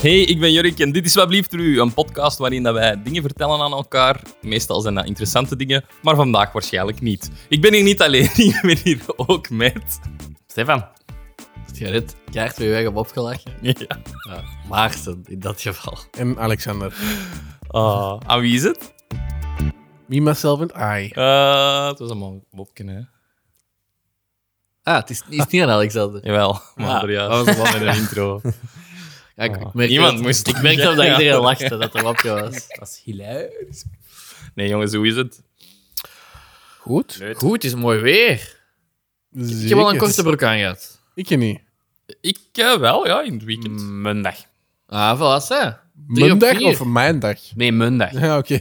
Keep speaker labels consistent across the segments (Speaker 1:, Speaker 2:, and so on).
Speaker 1: Hey, ik ben Jurk en dit is Wat Blieft er U, een podcast waarin dat wij dingen vertellen aan elkaar. Meestal zijn dat interessante dingen, maar vandaag waarschijnlijk niet. Ik ben hier niet alleen, ik ben hier ook met...
Speaker 2: Stefan. Gerrit, keihard weer weg op opgelachen.
Speaker 1: Ja.
Speaker 2: Ja, Maarten, in dat geval.
Speaker 3: En Alexander.
Speaker 1: Ah, aan wie is het?
Speaker 3: Me, myself and I.
Speaker 1: Eh, het was allemaal Wopken, hè?
Speaker 2: Ah, het is, is niet aan Alexander.
Speaker 1: Jawel,
Speaker 2: Ah,
Speaker 1: maar er
Speaker 2: dat
Speaker 1: juist.
Speaker 2: was wel met een
Speaker 1: intro.
Speaker 2: Ja,
Speaker 3: Oh.
Speaker 2: ik,
Speaker 1: Ah.
Speaker 2: ik merkte
Speaker 1: Iemand
Speaker 2: dat,
Speaker 1: moest-
Speaker 2: Ik merkte dat
Speaker 1: Ja.
Speaker 2: iedereen lachte dat er wapje was.
Speaker 1: Dat is hilarisch. Nee, jongens, hoe is het?
Speaker 3: Goed.
Speaker 2: Goed, het is mooi weer. Ik heb wel een korte broek aan gehad.
Speaker 3: Ik niet.
Speaker 1: Ik eh, wel, ja, in het weekend.
Speaker 2: Mm,
Speaker 1: Mondag.
Speaker 2: Ah, voilà, ze. Drie op
Speaker 3: Mondag
Speaker 2: vier.
Speaker 3: of mijn dag?
Speaker 2: Nee, maandag.
Speaker 3: Ja, oké.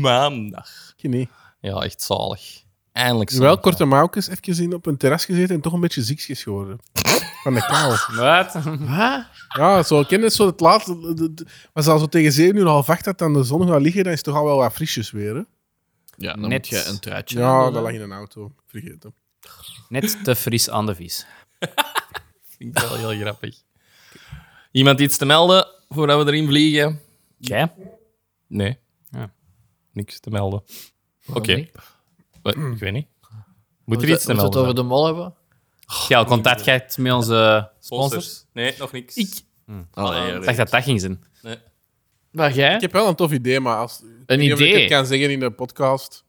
Speaker 1: Maandag.
Speaker 3: Ik niet.
Speaker 1: Ja, echt zalig. Eindelijk zo.
Speaker 3: Wel korte mouwkes, even zien op een terras gezeten en toch een beetje ziekjes geworden. Van de kou.
Speaker 1: Wat?
Speaker 2: Wat?
Speaker 3: Ja, zo kennis, zo het laatste. de- de- Maar zelfs zo tegen 7 uur half acht dat dan de zon gaat liggen, dan is het toch al wel wat frisjes weer. Hè?
Speaker 2: Ja, dan
Speaker 4: Net.
Speaker 2: moet je een truitje
Speaker 3: Ja,
Speaker 2: aan
Speaker 3: dat
Speaker 2: doen.
Speaker 3: lag in een auto. Vergeten.
Speaker 4: Net te fris aan de vis.
Speaker 1: Vind ik wel heel grappig. Iemand iets te melden voordat we erin vliegen?
Speaker 4: Jij?
Speaker 1: Nee.
Speaker 4: Ja.
Speaker 1: Niks te melden. Oké.
Speaker 2: Waarom niet?
Speaker 1: We- Ik weet niet. Moet er
Speaker 2: Moeten-
Speaker 1: iets te
Speaker 2: moeten we het
Speaker 1: melden
Speaker 2: over Oh,
Speaker 1: zijn?
Speaker 2: de mol hebben?
Speaker 4: Jij al contact gehad met onze sponsors?
Speaker 1: Nee, nog niks.
Speaker 4: Ik-
Speaker 2: Ah,
Speaker 1: Allee,
Speaker 4: Ik dacht dat dat ging zijn.
Speaker 2: Maar
Speaker 3: Ik
Speaker 2: jij?
Speaker 3: heb wel een tof idee, maar als
Speaker 2: Een
Speaker 3: Ik weet niet of ik
Speaker 2: idee?
Speaker 3: het kan zeggen in de podcast.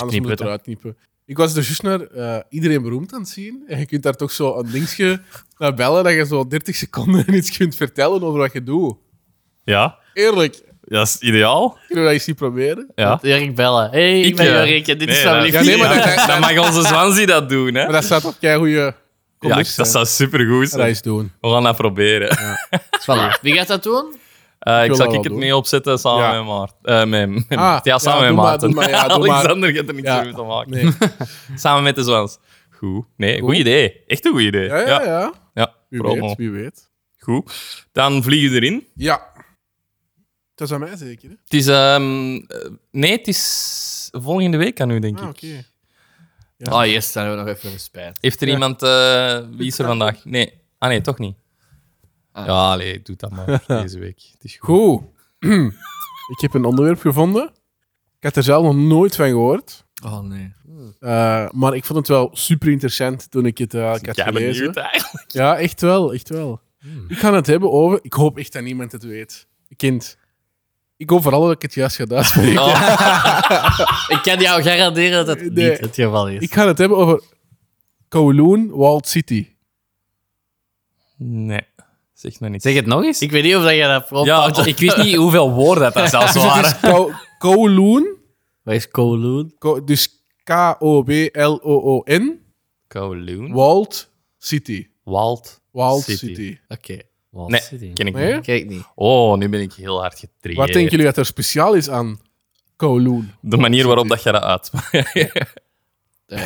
Speaker 3: Alles moet
Speaker 4: knippen
Speaker 3: het
Speaker 4: we het.
Speaker 3: eruit knippen. Ik was dus juist naar eh, iedereen beroemd aan het zien. En je kunt daar toch zo een dingetje naar bellen dat je zo 30 seconden iets kunt vertellen over wat je doet.
Speaker 1: Ja,
Speaker 3: Eerlijk,
Speaker 1: dat is ideaal.
Speaker 3: kunnen we dat eens niet proberen?
Speaker 1: Ja.
Speaker 2: Jurk bellen. hey, ik,
Speaker 1: Ik,
Speaker 2: ben
Speaker 1: eh,
Speaker 2: Jurk en dit
Speaker 1: nee,
Speaker 2: is
Speaker 1: dat-
Speaker 2: wel
Speaker 3: Ja, nee, maar dat, dat,
Speaker 1: Dan mag onze Zwanzi dat doen, hè?
Speaker 3: maar dat staat op jij goede
Speaker 1: Ja, dat zou supergoed
Speaker 3: dat
Speaker 1: zijn.
Speaker 3: eens doen.
Speaker 1: We gaan dat proberen.
Speaker 2: lief. Wie gaat dat doen?
Speaker 1: Eh, ik
Speaker 3: wil
Speaker 1: zal
Speaker 3: dat
Speaker 1: ik
Speaker 3: wel
Speaker 1: het
Speaker 3: doen.
Speaker 1: mee opzetten samen
Speaker 3: Ja.
Speaker 1: met Maart. eh, met, met-
Speaker 3: Ah,
Speaker 1: ja, samen
Speaker 3: ja,
Speaker 1: met
Speaker 3: doe maar,
Speaker 1: Maarten.
Speaker 3: doe maar, ja, doe maar.
Speaker 1: Alexander gaat er niks
Speaker 3: Ja.
Speaker 1: meer mee te maken.
Speaker 3: Nee.
Speaker 1: Samen met de Zwans. Goed. Nee, goed idee. Echt een goed idee.
Speaker 3: Ja, ja, ja.
Speaker 1: Ja,
Speaker 3: Wie
Speaker 1: promo.
Speaker 3: weet, wie weet.
Speaker 1: Goed. Dan vliegen we erin.
Speaker 3: Ja. Dat is aan mij zeker, hè?
Speaker 1: Het is... ehm, eh, nee, het is volgende week aan u, denk ik.
Speaker 3: Ah, oké. Ja.
Speaker 2: Ah, yes, dan hebben we nog even een spijt.
Speaker 1: Heeft er
Speaker 3: Ja.
Speaker 1: iemand... eh, wie is er vandaag? Nee. Ah nee, toch niet.
Speaker 2: Ah.
Speaker 1: Ja, allee, doe dat maar deze week. Het is goed.
Speaker 3: Goed. ik heb een onderwerp gevonden. Ik had er zelf nog nooit van gehoord.
Speaker 2: Oh, nee.
Speaker 3: Eh, maar ik vond het wel super interessant toen ik het eh, ik had
Speaker 1: Ja,
Speaker 3: gelezen.
Speaker 1: benieuwd eigenlijk.
Speaker 3: Ja, echt wel, echt wel. Ik ga het hebben over... Ik hoop echt dat niemand het weet. Kind. Ik hoop vooral dat ik het juist ga uitspreken.
Speaker 2: Ik kan jou garanderen dat het
Speaker 3: Nee.
Speaker 2: niet het geval is.
Speaker 3: Ik ga het hebben over Kowloon Walled City.
Speaker 1: Nee, zeg maar niet.
Speaker 4: Zeg het nog eens.
Speaker 2: Ik weet niet of dat jij dat prompt
Speaker 1: Ja,
Speaker 2: houdt.
Speaker 4: ik wist niet hoeveel woorden dat daar zelfs
Speaker 3: Het
Speaker 4: waren.
Speaker 3: is Ko- Dus Kowloon,
Speaker 2: Wat is Kowloon?
Speaker 3: Ko- dus K-O-W-L-O-O-N,
Speaker 1: Kowloon.
Speaker 3: Walled City.
Speaker 1: Walt.
Speaker 3: Walled
Speaker 1: City.
Speaker 3: City.
Speaker 2: Oké,
Speaker 1: Nee, ken ik
Speaker 3: Nee?
Speaker 1: niet.
Speaker 2: kijk niet. Eh,
Speaker 1: Oh, nu ben ik heel hard getraind.
Speaker 3: Wat denken jullie dat er speciaal is aan Kowloon?
Speaker 1: De manier waarop dat je dat uitspreekt.
Speaker 4: Dat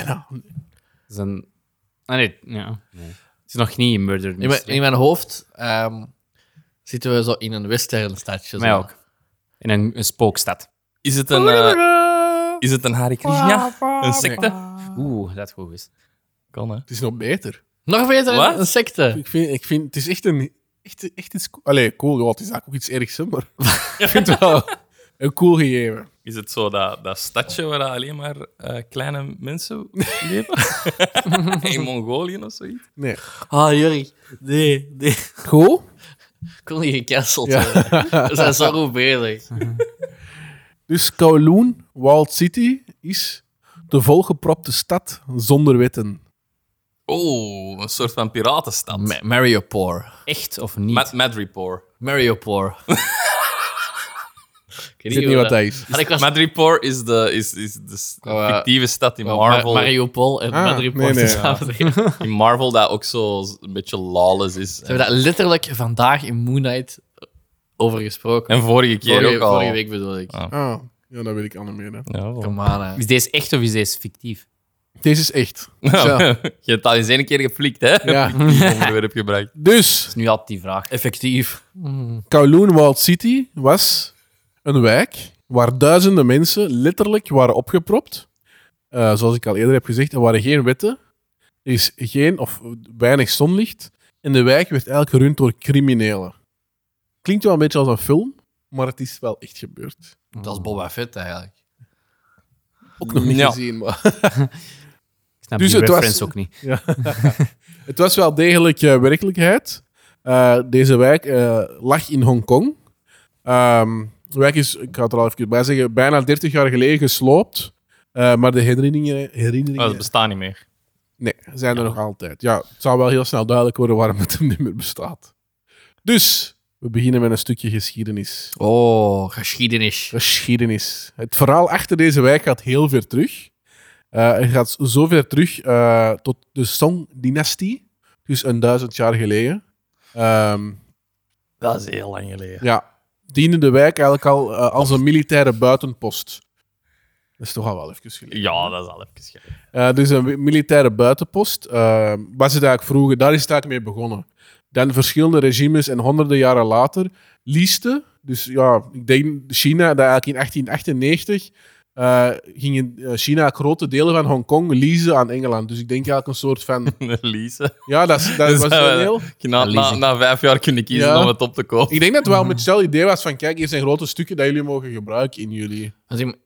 Speaker 4: is een- Ah, nee, ja. Het is nog niet Murder
Speaker 2: In mijn,
Speaker 4: Mystery.
Speaker 2: in mijn hoofd ehm, zitten we zo in een westernstadje.
Speaker 4: Mij
Speaker 2: zo.
Speaker 4: ook. In een, een spookstad.
Speaker 1: Is het een, eh, is het een Hare Krishna? Een secte?
Speaker 4: Ah. Oeh, dat goed is.
Speaker 1: Kan, hè?
Speaker 3: Het is nog beter.
Speaker 2: Nog beter
Speaker 1: Wat?
Speaker 2: een secte.
Speaker 3: Ik vind, ik vind het is echt een. Echt, echt iets cool. Allee, cool. Ja, het is eigenlijk ook iets ergs, hè, maar. ik vind het wel een cool gegeven.
Speaker 1: Is het zo dat, dat stadje waar alleen maar eh, kleine mensen leven? In Mongolië of zoiets?
Speaker 3: Nee.
Speaker 2: Ah, Jurk. Nee, nee.
Speaker 3: Cool?
Speaker 2: Ik kon niet gecanceld
Speaker 3: Ja.
Speaker 2: worden. We zijn zo goed bezig.
Speaker 3: Dus Kowloon, Wild City, is de volgepropte stad zonder wetten.
Speaker 1: Oh, een soort van piratenstad.
Speaker 2: Ma- Mariupol.
Speaker 4: Echt of niet?
Speaker 1: Mad, Madripoor.
Speaker 2: Mariupol. ik
Speaker 3: Ik weet niet wat dat is.
Speaker 2: Maar ik was...
Speaker 1: Madripoor is de, is, is de s-
Speaker 2: Oh, eh,
Speaker 1: fictieve stad in
Speaker 2: Wel,
Speaker 1: Marvel.
Speaker 2: Ma- Mariupol en
Speaker 3: Ah,
Speaker 2: Mariupol
Speaker 3: nee, nee, ja.
Speaker 2: samen. Ze
Speaker 1: in Marvel dat ook zo z- een beetje lawless is. En,
Speaker 2: hebben dat letterlijk vandaag in Moon Knight over gesproken.
Speaker 1: en vorige keer
Speaker 2: vorige,
Speaker 1: ook al.
Speaker 2: vorige week bedoel ik.
Speaker 1: Ah.
Speaker 3: Ah, ja, dat weet ik allemaal meer. Hè.
Speaker 1: Ja, voilà.
Speaker 2: Come on, hè.
Speaker 4: Is deze echt of is deze fictief?
Speaker 3: Deze is echt.
Speaker 1: Nou,
Speaker 3: Zo.
Speaker 1: je hebt al eens één keer geflikt, hè?
Speaker 3: Ja.
Speaker 1: Die onderwerp gebruikt.
Speaker 3: Dus,
Speaker 4: Nu altijd die vraag.
Speaker 2: Effectief.
Speaker 3: Kowloon, Wild City was een wijk waar duizenden mensen letterlijk waren opgepropt. Eh, zoals ik al eerder heb gezegd, er waren geen wetten. Er is geen of weinig zonlicht. En de wijk werd eigenlijk gerund door criminelen. klinkt wel een beetje als een film, maar het is wel echt gebeurd.
Speaker 4: Mm.
Speaker 2: Dat is Boba Fett eigenlijk.
Speaker 3: Ook nog niet
Speaker 1: Ja.
Speaker 3: gezien, maar...
Speaker 4: Ik snap
Speaker 3: Dus
Speaker 4: die
Speaker 3: het was-
Speaker 4: reference ook niet.
Speaker 3: Ja. het was wel degelijk eh, werkelijkheid. Eh, deze wijk eh, lag in Hongkong. Ehm, de wijk is, ik ga het er al even bij zeggen, bijna 30 jaar geleden gesloopt. Eh, maar de herinneringen,
Speaker 1: Maar Oh, dat
Speaker 3: herinneringen
Speaker 1: bestaat niet meer.
Speaker 3: nee, zijn er nog altijd. Ja, het zou wel heel snel duidelijk worden waarom het hem niet meer bestaat. Dus, we beginnen met een stukje geschiedenis.
Speaker 2: Oh, geschiedenis.
Speaker 3: Geschiedenis. Het verhaal achter deze wijk gaat heel ver terug. Eh het gaat zo ver terug eh, tot de Song-dynastie. Dus een duizend jaar geleden. Ehm,
Speaker 1: Dat is heel lang geleden.
Speaker 3: ja, diende de wijk eigenlijk al eh, als een militaire buitenpost. Dat is toch al wel even geleden.
Speaker 1: Ja, dat is al even geleden.
Speaker 3: Eh, dus een wi- militaire buitenpost. eh, was het eigenlijk vroeger, daar is het eigenlijk mee begonnen. Dan verschillende regimes en honderden jaren later lieste. Dus ja, ik denk China, dat eigenlijk in 1898 eh gingen eh, China grote delen van Hongkong leasen aan Engeland. Dus ik denk eigenlijk een soort van.
Speaker 1: Leasen.
Speaker 3: Ja, dat, is- dat
Speaker 1: Dus,
Speaker 3: was
Speaker 1: eh,
Speaker 3: een heel.
Speaker 1: Na, na,
Speaker 4: Leasen.
Speaker 1: na vijf jaar kunnen kiezen
Speaker 3: Ja.
Speaker 1: om het op te kopen.
Speaker 3: Ik denk dat het wel met hetzelfde idee was van: kijk, hier zijn grote stukken dat jullie mogen gebruiken in jullie.
Speaker 2: Want in,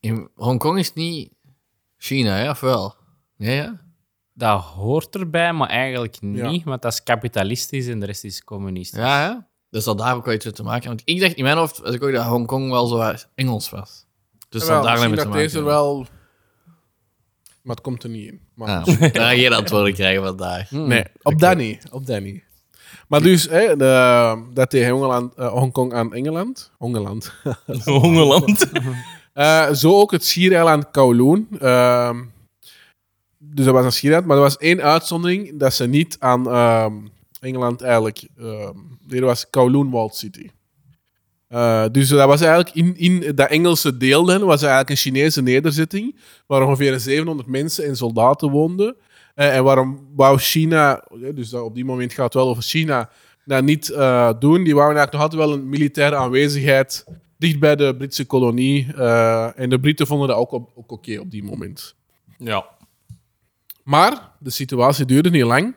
Speaker 2: in Hongkong is het niet China, hè? of wel? Nee, ja?
Speaker 4: Dat hoort erbij, maar eigenlijk
Speaker 3: Ja.
Speaker 4: niet. Want dat is kapitalistisch en de rest is communistisch.
Speaker 2: Ja, hè? Dus dat daar ook wel iets mee te maken. Want ik dacht in mijn hoofd was ik ook dat Hongkong wel zo Engels was. Dus
Speaker 3: Wel,
Speaker 2: dat daar mee
Speaker 3: misschien
Speaker 2: te
Speaker 3: dat
Speaker 2: maken.
Speaker 3: deze
Speaker 2: hebben.
Speaker 3: wel. Maar het komt er niet in. Maar...
Speaker 2: Ja, daar ga je geen antwoorden krijgen vandaag.
Speaker 3: Hmm. Nee, op dat niet. Op dat niet. Maar dus, hè, de, dat tegen Engeland, eh, Hongkong aan Engeland. Hongeland.
Speaker 1: Hongeland.
Speaker 3: Eh, zo ook het schiereiland Kowloon. Ehm, dus dat was een schiereiland, maar er was één uitzondering dat ze niet aan ehm, Engeland eigenlijk... ehm nee, dat was Kowloon Walled City. Eh, dus dat was eigenlijk in, in dat Engelse deel dan, was eigenlijk een Chinese nederzetting waar ongeveer 700 mensen en soldaten woonden. Eh, en waarom wou China, eh, dus dat op die moment gaat het wel over China, dat niet eh, doen? Die wouden eigenlijk nog altijd wel een militaire aanwezigheid dicht bij de Britse kolonie. eh, en de Britten vonden dat ook, op- ook oké op die moment.
Speaker 1: ja.
Speaker 3: Maar de situatie duurde niet lang.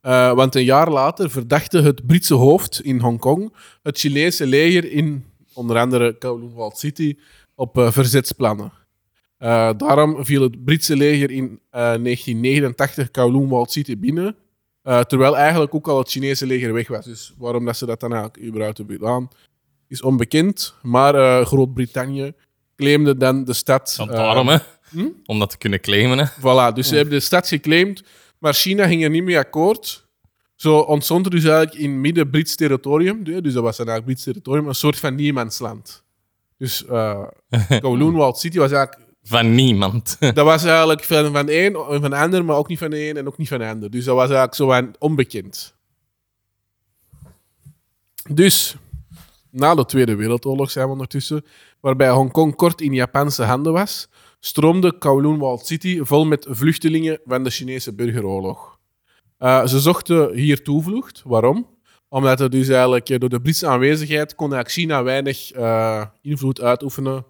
Speaker 3: eh, want een jaar later verdachte het Britse hoofd in Hongkong het Chinese leger in onder andere Kowloon Walled City op eh, verzetsplannen. Eh, daarom viel het Britse leger in eh, 1989 Kowloon Walled City binnen. eh, terwijl eigenlijk ook al het Chinese leger weg was. Dus waarom dat ze dat dan eigenlijk überhaupt hebben gedaan, is onbekend. Maar eh, Groot-Brittannië claimde dan de stad.
Speaker 1: Want
Speaker 3: eh,
Speaker 1: daarom, hè.
Speaker 3: hm?
Speaker 1: Om dat te kunnen claimen, hè.
Speaker 3: Voilà, dus ze hebben de stad geclaimd, maar China ging er niet mee akkoord. Zo ontstond er dus eigenlijk in midden-Brits territorium, dus dat was dan eigenlijk Brits territorium, een soort van niemandsland. Dus eh Kowloon Walled City was eigenlijk,
Speaker 1: Van niemand.
Speaker 3: dat was eigenlijk van, van één en van de ander, maar ook niet van de een en ook niet van de ander. Dus dat was eigenlijk zo van onbekend. Dus, na de Tweede Wereldoorlog zijn we ondertussen, waarbij Hongkong kort in Japanse handen was, stroomde Kowloon Walled City vol met vluchtelingen van de Chinese burgeroorlog. Eh, ze zochten hier toevlucht. Waarom? Omdat er dus eigenlijk eh, door de Britse aanwezigheid kon eigenlijk China weinig eh, invloed uitoefenen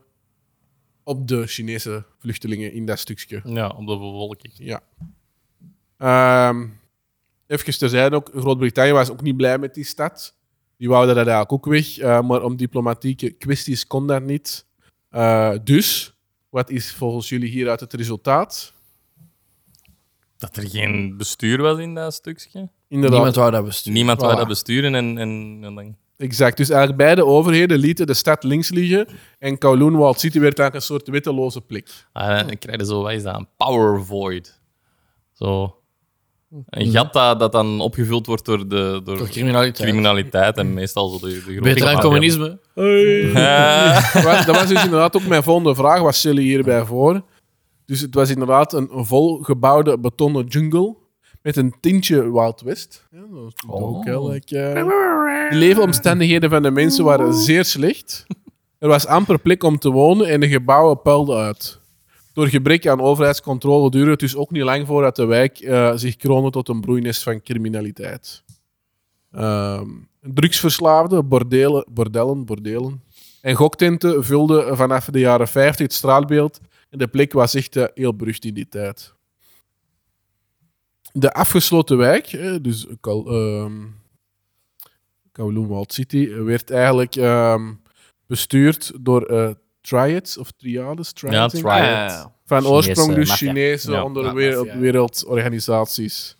Speaker 3: op de Chinese vluchtelingen in dat stukje.
Speaker 1: Ja, op de bevolking.
Speaker 3: Ja. Ehm even terzijde ook, Groot-Brittannië was ook niet blij met die stad. Die wouden dat eigenlijk ook weg, eh, maar om diplomatieke kwesties kon dat niet. Eh, dus, wat is volgens jullie hieruit het resultaat?
Speaker 1: Dat er geen bestuur was in dat stukje.
Speaker 3: Inderdaad,
Speaker 2: Niemand wou dat besturen.
Speaker 1: Niemand wou
Speaker 3: Voilà.
Speaker 1: dat besturen en, en, en dan...
Speaker 3: exact. Dus eigenlijk beide overheden lieten de stad links liggen en Kowloon Walled City werd eigenlijk een soort witteloze plek.
Speaker 1: Ah, dan krijg je zo, wat is dat, een power void. Zo. Een gat dat, dat dan opgevuld wordt door, de, door
Speaker 2: Door criminaliteit.
Speaker 1: criminaliteit en meestal zo de, de grote
Speaker 2: Beter dan
Speaker 1: maatregelen.
Speaker 2: communisme.
Speaker 1: Eh,
Speaker 3: Dat was- dat was dus inderdaad ook mijn volgende vraag. Wat stel je hierbij voor? Dus het was inderdaad een een volgebouwde betonnen jungle met een tintje Wild West. Ja, dat doet ook heel leuk, eh. De leefomstandigheden van de mensen waren zeer slecht. Er was amper plek om te wonen en de gebouwen puilden uit. Door gebrek aan overheidscontrole duurde het dus ook niet lang voordat de wijk eh, zich kroonde tot een broeinest van criminaliteit. Ehm, drugsverslaafden, bordelen, bordellen, bordelen, en goktenten vulden vanaf de jaren 50 het straatbeeld. En de plek was echt eh, heel berucht in die tijd. De afgesloten wijk, eh, dus ook al, ehm, Kowloon Walled City, werd eigenlijk ehm, bestuurd door eh, triads of triades. triads
Speaker 1: Ja,
Speaker 3: denk ik.
Speaker 1: triads.
Speaker 3: Van
Speaker 4: Chinese
Speaker 3: oorsprong dus
Speaker 4: maffia.
Speaker 3: Chinese
Speaker 1: Ja,
Speaker 2: ja,
Speaker 3: onderwereld-
Speaker 2: maffia, ja.
Speaker 3: wereldorganisaties.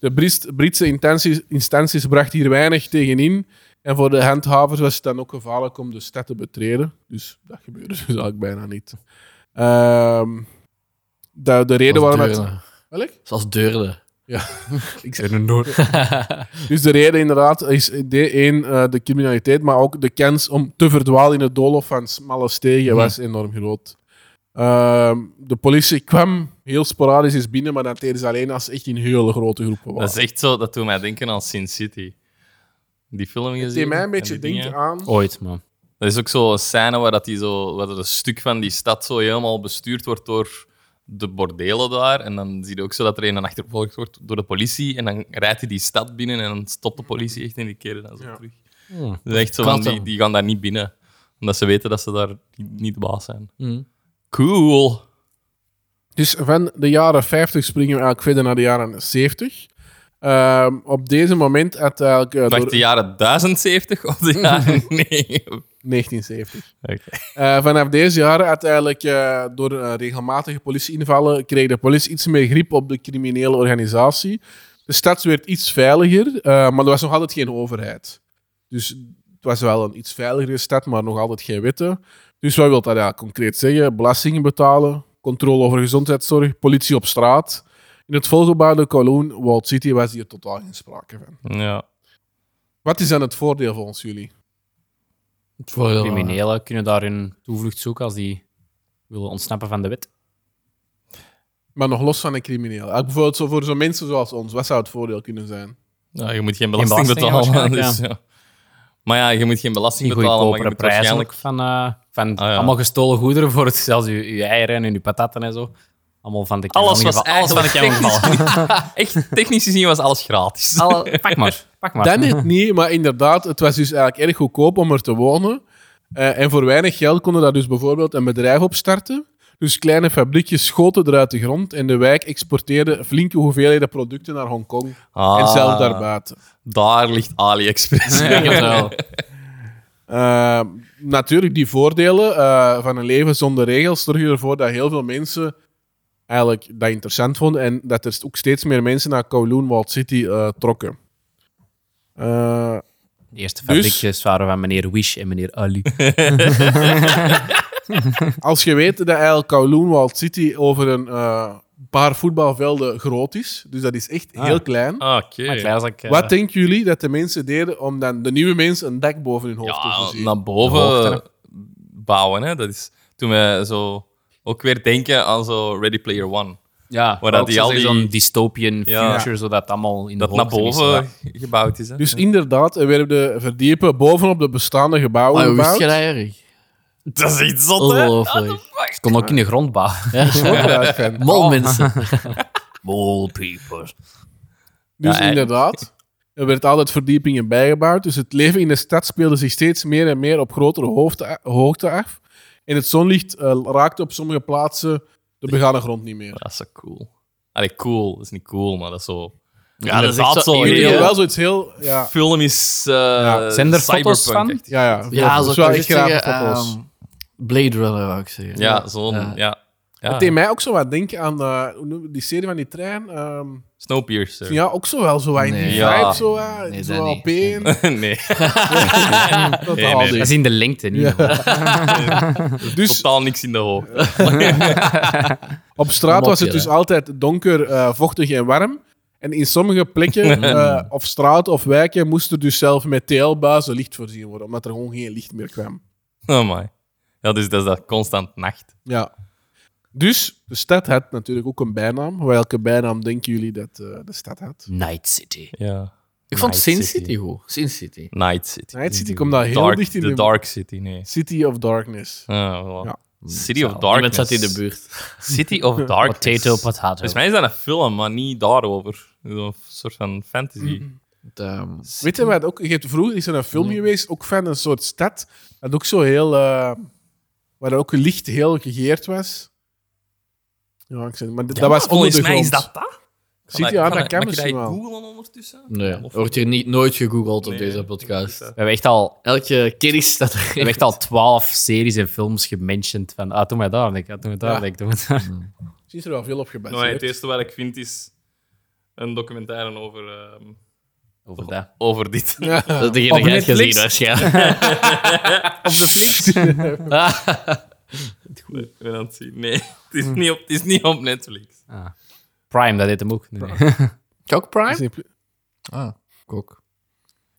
Speaker 3: De Brist- Britse intenties, instanties brachten hier weinig tegenin. En voor de handhavers was het dan ook gevaarlijk om de stad te betreden. Dus dat gebeurde dus eigenlijk bijna niet. Ehm, de, de reden waarom het...
Speaker 2: Deurne.
Speaker 3: Welk?
Speaker 2: Zoals deurde.
Speaker 3: Ik zei een noord. dus de reden inderdaad is de één, eh, de criminaliteit, maar ook de kans om te verdwalen in het doolhof van smalle
Speaker 1: Mhm.
Speaker 3: stegen was enorm groot. Ehm, de politie kwam heel sporadisch eens binnen, maar dat deden ze alleen als ze echt in hele grote groepen waren.
Speaker 1: Dat is echt zo, dat doet mij denken aan Sin City. Die film gezien.
Speaker 3: Het deed Dus mij
Speaker 1: en
Speaker 3: een beetje
Speaker 1: die
Speaker 3: denken
Speaker 1: dingen.
Speaker 3: aan...
Speaker 4: Ooit, man.
Speaker 1: Er is ook zo'n scène waar, dat die zo, waar dat een stuk van die stad zo helemaal bestuurd wordt door de bordelen daar. En dan zie je ook zo dat er een achtervolgd wordt door de politie. En dan rijdt hij die stad binnen en dan stopt de politie echt en die keren dan zo
Speaker 3: Ja.
Speaker 1: terug.
Speaker 4: Hmm.
Speaker 1: Dus echt zo van,
Speaker 2: Gotham.
Speaker 1: die, die gaan daar niet binnen. Omdat ze weten dat ze daar niet de baas zijn.
Speaker 2: Hm.
Speaker 1: Cool.
Speaker 3: Dus van de jaren 50 springen we eigenlijk verder naar de jaren 70. Ehm, op deze moment had eigenlijk... eh,
Speaker 1: Wacht,
Speaker 3: door-
Speaker 1: de jaren 1070 of de jaren... Nee.
Speaker 3: 1970.
Speaker 1: Oké.
Speaker 3: Eh, vanaf deze jaren, uiteindelijk eh, door eh, regelmatige politieinvallen, kreeg de politie iets meer grip op de criminele organisatie. De stad werd iets veiliger, eh, maar er was nog altijd geen overheid. Dus het was wel een iets veiligere stad, maar nog altijd geen wetten. Dus wat wil dat ja, concreet zeggen? Belastingen betalen, controle over gezondheidszorg, politie op straat. In het volgebouwde Kowloon, Walled City, was hier totaal geen sprake van.
Speaker 1: Ja.
Speaker 3: Wat is dan het voordeel volgens jullie?
Speaker 2: Het voordeel van-
Speaker 4: Criminelen
Speaker 3: eh,
Speaker 4: kunnen daar hun toevlucht zoeken als die willen ontsnappen van de wet.
Speaker 3: Maar nog los van de crimineel. Eigenlijk Bijvoorbeeld zo voor zo'n mensen zoals ons, wat zou het voordeel kunnen zijn?
Speaker 1: Ja, je moet geen belasting,
Speaker 4: belasting,
Speaker 1: betalen.
Speaker 4: waarschijnlijk,
Speaker 1: dus, ja. Maar ja, je moet geen belasting
Speaker 4: Die
Speaker 1: betalen, maar je
Speaker 4: goedkopere
Speaker 1: moet
Speaker 4: prijzen
Speaker 1: waarschijnlijk...
Speaker 4: ook van, eh, van
Speaker 1: Ah, ja.
Speaker 4: allemaal gestolen goederen voor het, zelfs je, je eieren en je patatten en zo. Allemaal van de kanon
Speaker 1: Alles was
Speaker 4: gevallen. Alles van de kanon
Speaker 1: eigenlijk
Speaker 4: gevallen.
Speaker 1: Echt, technisch gezien was alles gratis.
Speaker 4: Alle- Pak maar, pak maar.
Speaker 3: Dat net niet, maar inderdaad, het was dus eigenlijk erg goedkoop om er te wonen. Eh, en voor weinig geld konden daar dus bijvoorbeeld een bedrijf opstarten. Dus kleine fabriekjes schoten eruit de grond en de wijk exporteerde flinke hoeveelheden producten naar Hongkong en
Speaker 1: Ah,
Speaker 3: zelf daarbuiten.
Speaker 1: Daar ligt AliExpress.
Speaker 2: Ja, ik heb het wel.
Speaker 3: Eh, natuurlijk, die voordelen eh, van een leven zonder regels zorgen ervoor dat heel veel mensen eigenlijk dat interessant vonden en dat er ook steeds meer mensen naar Kowloon Walled City eh, trokken. Eh,
Speaker 4: De eerste
Speaker 3: Dus-
Speaker 4: fabriekjes waren van meneer Wish en meneer Ali.
Speaker 3: Als je weet dat eigenlijk Kowloon Walled City over een eh, paar voetbalvelden groot is, dus dat is echt
Speaker 4: Ah.
Speaker 3: heel klein.
Speaker 1: Oké.
Speaker 4: Maar klein als ik, eh,
Speaker 3: Wat denken jullie dat de mensen deden om dan de nieuwe mensen een dak boven hun hoofd
Speaker 1: Ja,
Speaker 3: te
Speaker 1: nou,
Speaker 3: voorzien?
Speaker 1: Ah, naar
Speaker 4: De
Speaker 1: boven
Speaker 4: hoogte,
Speaker 1: bouwen, hè. Dat is toen we zo ook weer denken aan zo Ready Player One.
Speaker 4: ja,
Speaker 1: waar
Speaker 4: waar
Speaker 1: dat
Speaker 4: dat
Speaker 1: die al die-
Speaker 4: zo'n dystopian
Speaker 1: Ja.
Speaker 4: future, zodat allemaal in
Speaker 1: Dat
Speaker 4: de
Speaker 1: naar
Speaker 4: hoogte is, zodat-
Speaker 1: boven gebouwd is, hè.
Speaker 3: Dus inderdaad, er werden de verdiepen bovenop de bestaande gebouwen
Speaker 2: Maar Ah, hoe wist
Speaker 3: gebouwd.
Speaker 2: je dat, Erik?
Speaker 1: dat is iets zot, hè. Ah,
Speaker 2: Ongelooflijk.
Speaker 4: Ze kon ook in de grond bouwen.
Speaker 1: Oh.
Speaker 2: Mol mensen.
Speaker 4: Mole people.
Speaker 3: Dus
Speaker 1: Ja, en-
Speaker 3: inderdaad, er werd altijd verdiepingen bijgebouwd. Dus het leven in de stad speelde zich steeds meer en meer op grotere hoofde- hoogte af. En het zonlicht eh, raakte op sommige plaatsen de begane grond niet meer.
Speaker 1: Dat is zo cool. Allee, cool. Dat is niet cool, maar dat is zo...
Speaker 2: Oh, Ja, dat is
Speaker 1: Inderdaad
Speaker 2: echt zo
Speaker 1: zo
Speaker 2: eerlijk,
Speaker 3: Jullie
Speaker 1: heel
Speaker 2: hè?
Speaker 3: hebben wel zoiets heel... Ja,
Speaker 1: Film is... eh,
Speaker 3: Ja.
Speaker 4: Zijn er foto's
Speaker 1: cyberpunk,
Speaker 4: van?
Speaker 1: echt.
Speaker 3: Ja, ja.
Speaker 2: Ja, zo
Speaker 3: is
Speaker 2: kan
Speaker 3: wel
Speaker 2: je
Speaker 3: echt graag
Speaker 2: zeggen,
Speaker 3: foto's.
Speaker 2: ehm, Blade Runner, wou ik zeggen.
Speaker 1: Ja, zo'n... Ja.
Speaker 2: Ja.
Speaker 1: Ja.
Speaker 3: Het deed mij ook zo wat denken aan eh, hoe noemen we die serie van die trein. ehm,
Speaker 1: Snowpiercer.
Speaker 3: ja, ook zo wel zo wat in die
Speaker 2: Nee.
Speaker 1: Ja.
Speaker 3: vibe. Zo, eh,
Speaker 2: Nee,
Speaker 3: zo
Speaker 2: dat
Speaker 3: wel
Speaker 2: niet.
Speaker 3: peen.
Speaker 1: nee,
Speaker 3: Dat
Speaker 1: Nee,
Speaker 3: haalde
Speaker 1: nee.
Speaker 4: Dat is
Speaker 3: ik.
Speaker 4: in de lengte, niet
Speaker 3: Ja.
Speaker 4: in de
Speaker 3: Dus
Speaker 1: totaal niks in de hoogte.
Speaker 3: op straat was het dus
Speaker 2: Mopje,
Speaker 3: altijd donker, eh, vochtig en warm. En in sommige plekken, eh, of straat of wijken, moest er dus zelf met TL-buizen licht voorzien worden, omdat er gewoon geen licht meer kwam.
Speaker 1: Oh my. Ja, dus dat is dat constant nacht.
Speaker 3: Ja. Dus de stad had natuurlijk ook een bijnaam. Welke bijnaam denken jullie dat eh, de stad had?
Speaker 4: Night City.
Speaker 1: Ja.
Speaker 2: Ik vond
Speaker 4: Night
Speaker 2: Sin
Speaker 4: City.
Speaker 2: City goed. Sin City.
Speaker 1: Night City.
Speaker 3: Night City komt daar heel
Speaker 1: Dark,
Speaker 3: dicht in
Speaker 1: de
Speaker 3: de-
Speaker 1: Dark City, nee.
Speaker 3: City of Darkness.
Speaker 1: Ah, voilà.
Speaker 3: Ja.
Speaker 1: City of
Speaker 4: Zalig.
Speaker 1: Darkness.
Speaker 2: Iemand zat in de buurt.
Speaker 1: City of Darkness.
Speaker 4: Potato, potato.
Speaker 1: Volgens mij is dat een film, maar niet daarover. Een soort van fantasy.
Speaker 2: Het, ehm,
Speaker 3: Weet je wat? Ook, je hebt vroeger is er een film geweest, ook van een soort stad, dat ook zo heel... eh, waar ook het licht heel gegeerd was. Ja, ik zeg, maar d- dat was onder
Speaker 1: Ah, volgens
Speaker 3: de
Speaker 1: mij
Speaker 3: grond.
Speaker 1: is dat dat.
Speaker 3: Ik Ziet je aan, dat kan
Speaker 1: kan je
Speaker 3: misschien
Speaker 1: dat
Speaker 3: wel.
Speaker 1: googlen ondertussen? Nou,
Speaker 2: Nee,
Speaker 1: Of-
Speaker 2: er nou wordt hier niet, nooit gegoogeld op
Speaker 1: Nee,
Speaker 2: deze
Speaker 1: dus,
Speaker 2: podcast.
Speaker 1: eh,
Speaker 4: We hebben echt al,
Speaker 2: Elke kennis staat
Speaker 4: we hebben
Speaker 2: er
Speaker 4: echt al twaalf series en films gementiond. Van, ah, doe mij daar, denk ik. Ah, doe mij daar,
Speaker 3: Ja.
Speaker 4: denk ik. Doe mij daar.
Speaker 3: Misschien is er wel veel op
Speaker 1: maar het
Speaker 3: gebaseerd.
Speaker 1: eerste wat ik vind is een documentaire over, ehm,
Speaker 4: Over dat.
Speaker 1: over dit.
Speaker 2: Dat is degene
Speaker 4: Op
Speaker 2: die jij hebt gezien,
Speaker 4: Netflix?
Speaker 2: waarschijnlijk.
Speaker 1: Op de Flix?
Speaker 4: Ah.
Speaker 1: Ik ben aan het zien. Nee, het is
Speaker 3: Hm.
Speaker 1: niet op, het is niet op Netflix.
Speaker 4: Prime, dat heet hem ook. Nee, nee.
Speaker 2: Ook Prime?
Speaker 3: Disney Plus.
Speaker 2: Ah, ook.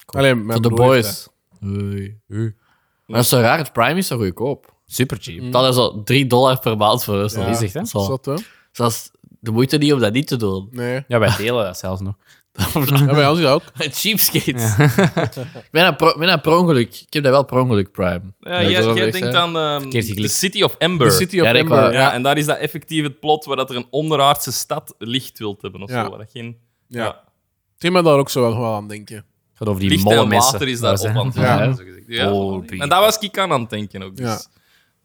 Speaker 3: Alleen, mijn
Speaker 2: Voor de
Speaker 3: broer heeft
Speaker 2: boys. Hoi. Maar dat is zo raar, het Prime is zo goedkoop.
Speaker 4: Super cheap.
Speaker 2: Dat is al 3 dollar per maand voor ons.
Speaker 3: Ja.
Speaker 2: Dat is echt
Speaker 4: Zegt, hè?
Speaker 3: dat. Zot, hè?
Speaker 2: zo- dat is de moeite niet om dat niet te doen.
Speaker 3: Nee.
Speaker 4: Ja, wij delen dat zelfs nog.
Speaker 3: Ja, bij ons is dat ook.
Speaker 2: Cheapskates. ik ben dat pro- ben dat per ongeluk. Ik heb dat wel per ongeluk, Prime.
Speaker 1: Ja,
Speaker 2: ik
Speaker 1: jij,
Speaker 2: wil dat
Speaker 1: jij
Speaker 2: echt
Speaker 1: denkt
Speaker 2: zeggen.
Speaker 1: aan ehm,
Speaker 4: Verkeerd geklikt.
Speaker 1: The City of Ember.
Speaker 3: De City of
Speaker 2: Ja, dat
Speaker 3: Ember.
Speaker 2: wel.
Speaker 1: ja, en daar is dat effectief het plot waar dat er een onderaardse stad licht wilt hebben. Of
Speaker 3: Ja.
Speaker 1: zo, waar dat geen...
Speaker 3: Ja. Ik denk dat daar ook zo wel wel aan denken.
Speaker 4: Gaat over die
Speaker 1: Licht
Speaker 4: malle
Speaker 1: en
Speaker 4: mensen.
Speaker 1: water is daar op
Speaker 4: Ja,
Speaker 1: aan het
Speaker 4: hè?
Speaker 3: Ja.
Speaker 1: gaan, zo gezegd. Ja.
Speaker 4: Oh,
Speaker 1: en daar was ik aan aan het denken ook. Dus.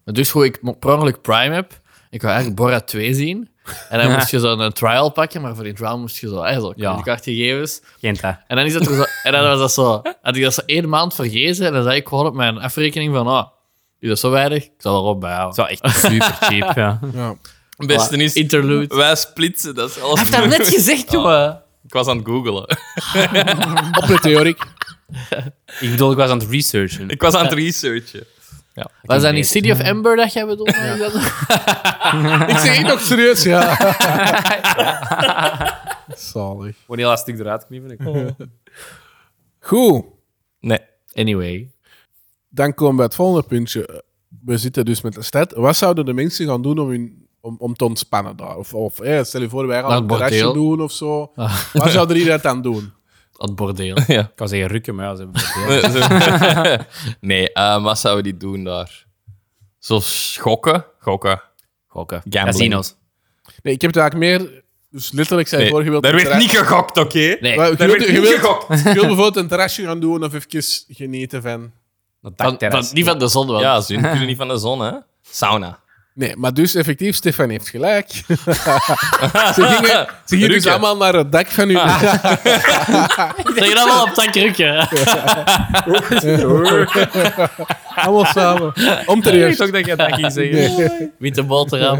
Speaker 3: Ja.
Speaker 2: Dus hoe ik mo- per ongeluk Prime heb, ik wou eigenlijk Borat 2 zien. En dan moest je zo'n eh, trial pakken, maar voor die trial moest je zo, eh, zo
Speaker 4: Ja.
Speaker 2: kredietkaartgegevens.
Speaker 4: Kent dat.
Speaker 2: En dan, is dat er zo, en dan was dat zo, had ik dat zo één maand vergeten en dan zei ik gewoon op mijn afrekening van, oh, is dat zo weinig? Ik zal erop
Speaker 4: Het
Speaker 2: bijhouden.
Speaker 4: is wel echt super cheap, ja.
Speaker 3: Ja.
Speaker 1: Het beste is,
Speaker 2: Interlude.
Speaker 1: wij splitsen. Dat is alles.
Speaker 2: gezegd, jongen.
Speaker 1: Ik was aan het googelen.
Speaker 3: Op de theoriek.
Speaker 4: Ik bedoel, ik was aan het researchen.
Speaker 1: Ik was aan het researchen.
Speaker 2: Was dat niet City of Ember dat jij bedoelde?
Speaker 3: Ik zeg het nog serieus, ja. Zalig.
Speaker 4: Gewoon heel dat stuk eruit knippen.
Speaker 3: Goed.
Speaker 1: Nee.
Speaker 2: Anyway.
Speaker 3: Dan komen we bij het volgende puntje. We zitten dus met de stad. Wat zouden de mensen gaan doen om, hun, om, om te ontspannen daar? Of, of eh, stel je voor, wij gaan
Speaker 2: Naar
Speaker 3: een
Speaker 2: het
Speaker 3: terrasje
Speaker 2: bordeel. Ah.
Speaker 3: doen of zo. Wat zou er iedereen aan doen?
Speaker 2: Dat bordeel.
Speaker 1: Ja.
Speaker 4: Ik kan zeggen rukken, maar ja, ze hebben het
Speaker 1: Nee, zo- nee eh, wat zouden die doen daar? Zo schokken? Gokken.
Speaker 4: Gokken.
Speaker 1: Gambling.
Speaker 4: Casinos.
Speaker 3: Nee, ik heb het eigenlijk meer... Dus letterlijk zei
Speaker 1: Nee,
Speaker 3: vorige week...
Speaker 1: daar
Speaker 3: een
Speaker 1: werd
Speaker 3: terras-
Speaker 1: niet gegokt, oké?
Speaker 2: Nee,
Speaker 3: Maar je
Speaker 1: Daar
Speaker 3: wilt-
Speaker 1: werd
Speaker 3: je
Speaker 1: niet
Speaker 3: wilt-
Speaker 1: gegokt.
Speaker 3: je wilt bijvoorbeeld een terrasje gaan doen of even genieten van...
Speaker 4: Dat
Speaker 2: van, van,
Speaker 4: dakterras.
Speaker 2: niet van de zon wel.
Speaker 1: Ja, ze kunnen niet van de zon, hè? Sauna.
Speaker 3: Nee, maar dus effectief, Stefan heeft gelijk. ze gingen, ze gingen dus
Speaker 1: Rukken.
Speaker 3: allemaal naar het dak van hun...
Speaker 1: Ah.
Speaker 2: Dat je dan wel op tak rukken.
Speaker 3: allemaal samen. Om te eerst.
Speaker 4: ook dat je dat ging zeggen.
Speaker 2: Met de boterham.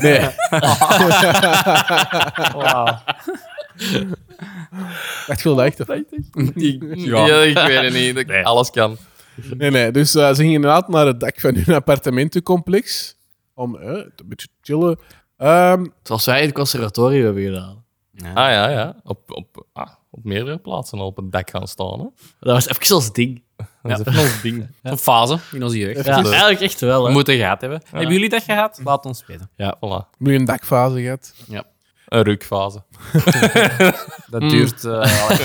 Speaker 3: Nee,
Speaker 4: Wauw.
Speaker 3: echt wel echt.
Speaker 1: Ja, ik weet het niet. Dat- Alles kan.
Speaker 3: Nee, nee. Dus eh, ze gingen inderdaad naar het dak van hun appartementencomplex. Om eh, een beetje te chillen. Ehm,
Speaker 2: Zoals wij het conservatorium hebben gedaan.
Speaker 1: Ah ja, ja. Op, op, ah, op meerdere plaatsen al op het dak gaan staan. Hè.
Speaker 2: Dat was even ons ding.
Speaker 1: Dat is even ons ding.
Speaker 4: Een fase in onze jeugd. Dus
Speaker 2: Ja, eigenlijk echt wel.
Speaker 4: We
Speaker 2: Hè.
Speaker 4: moeten gehad hebben. Hebben jullie dat gehad? Laat ons weten.
Speaker 1: Ja, voilà.
Speaker 3: nu een dakfase gehad.
Speaker 1: Een rukfase.
Speaker 4: Dat duurt... eh, al-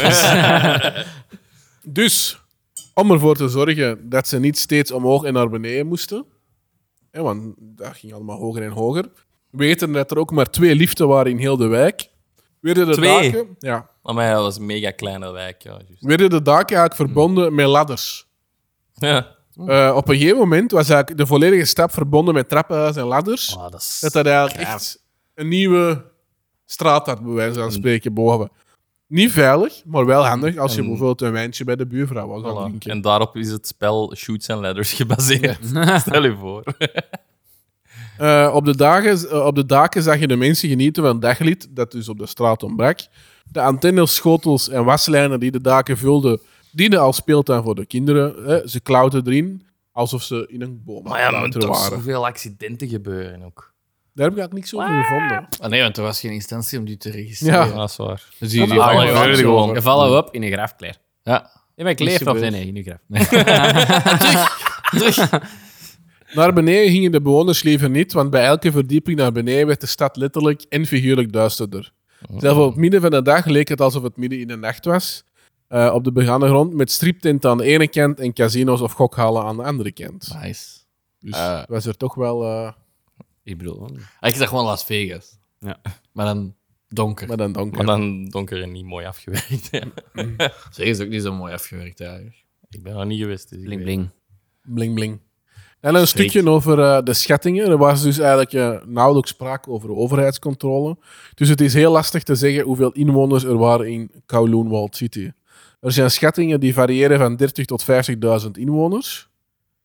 Speaker 3: Dus, om ervoor te zorgen dat ze niet steeds omhoog en naar beneden moesten. Hè, want dat ging allemaal hoger en hoger. Weten dat er ook maar twee liften waren in heel de wijk. Werden de
Speaker 1: Twee?
Speaker 3: daken... Ja.
Speaker 1: Maar mij dat was een mega kleine wijk. Ja, juist.
Speaker 3: werden de daken eigenlijk
Speaker 1: Hmm.
Speaker 3: verbonden met ladders.
Speaker 1: ja.
Speaker 3: Eh, op een gegeven moment was eigenlijk de volledige stap verbonden met trappenhuizen en ladders.
Speaker 1: Oh,
Speaker 4: Ah, dat is...
Speaker 3: Dat dat eigenlijk echt een nieuwe straat had, bij wijze
Speaker 1: Hmm.
Speaker 3: van spreken, boven. Niet veilig, maar wel handig als je bijvoorbeeld een wijntje bij de buurvrouw was gaan
Speaker 1: Hmm. Voilà.
Speaker 3: drinken.
Speaker 1: En daarop is het spel Shoots and Ladders gebaseerd. Stel je voor.
Speaker 3: Eh, op, de dagen, eh, op de daken zag je de mensen genieten van daglied, dat dus op de straat ontbrak. De antennes, schotels en waslijnen die de daken vulden, dienden als speeltuin voor de kinderen. Eh, ze klauwden erin, alsof ze in een boom
Speaker 1: Maar ja,
Speaker 3: aan
Speaker 1: er
Speaker 3: het
Speaker 1: moeten
Speaker 3: klauteren
Speaker 1: toch
Speaker 3: waren.
Speaker 1: zoveel accidenten gebeuren ook.
Speaker 3: Daar heb ik eigenlijk niks over gevonden.
Speaker 2: Ah, nee, want er was geen instantie om die te registreren.
Speaker 3: Ja.
Speaker 1: Ja, dat is waar.
Speaker 2: Dus die, die
Speaker 3: Ah,
Speaker 2: vallen
Speaker 3: ja,
Speaker 2: gewoon
Speaker 3: ja,
Speaker 2: zo.
Speaker 3: gewoon.
Speaker 4: Je vallen we op in een grafkleer.
Speaker 2: Ja.
Speaker 4: Ja, maar ik leef
Speaker 3: Niet
Speaker 4: nog. Nee,
Speaker 3: gebeurd.
Speaker 4: nee, in een graf.
Speaker 3: Naar beneden gingen de bewoners liever niet, want bij elke verdieping naar beneden werd de stad letterlijk en figuurlijk duisterder. Zelfs op het midden van de dag leek het alsof het midden in de nacht was. eh, op de begane grond met striptenten aan de ene kant en casino's of gokhalen aan de andere kant.
Speaker 2: Nice.
Speaker 3: Dus
Speaker 2: Eh.
Speaker 3: was er toch wel eh
Speaker 4: Ik bedoel...
Speaker 2: Eigenlijk is dat Ah, gewoon Las Vegas.
Speaker 4: Ja.
Speaker 2: Maar dan donker.
Speaker 3: met een donker.
Speaker 1: Maar dan donker en niet mooi afgewerkt. hè.
Speaker 2: Zeg is ook niet zo mooi afgewerkt eigenlijk.
Speaker 1: ik ben nog niet geweest. Dus ik
Speaker 4: Bling,
Speaker 1: weet
Speaker 4: bling.
Speaker 3: Bling bling. En een stukje over eh, de schattingen. Er was dus eigenlijk eh, nauwelijks sprake over overheidscontrole. Dus het is heel lastig te zeggen hoeveel inwoners er waren in Kowloon Walled City. Er zijn schattingen die variëren van 30 tot 50.000 inwoners.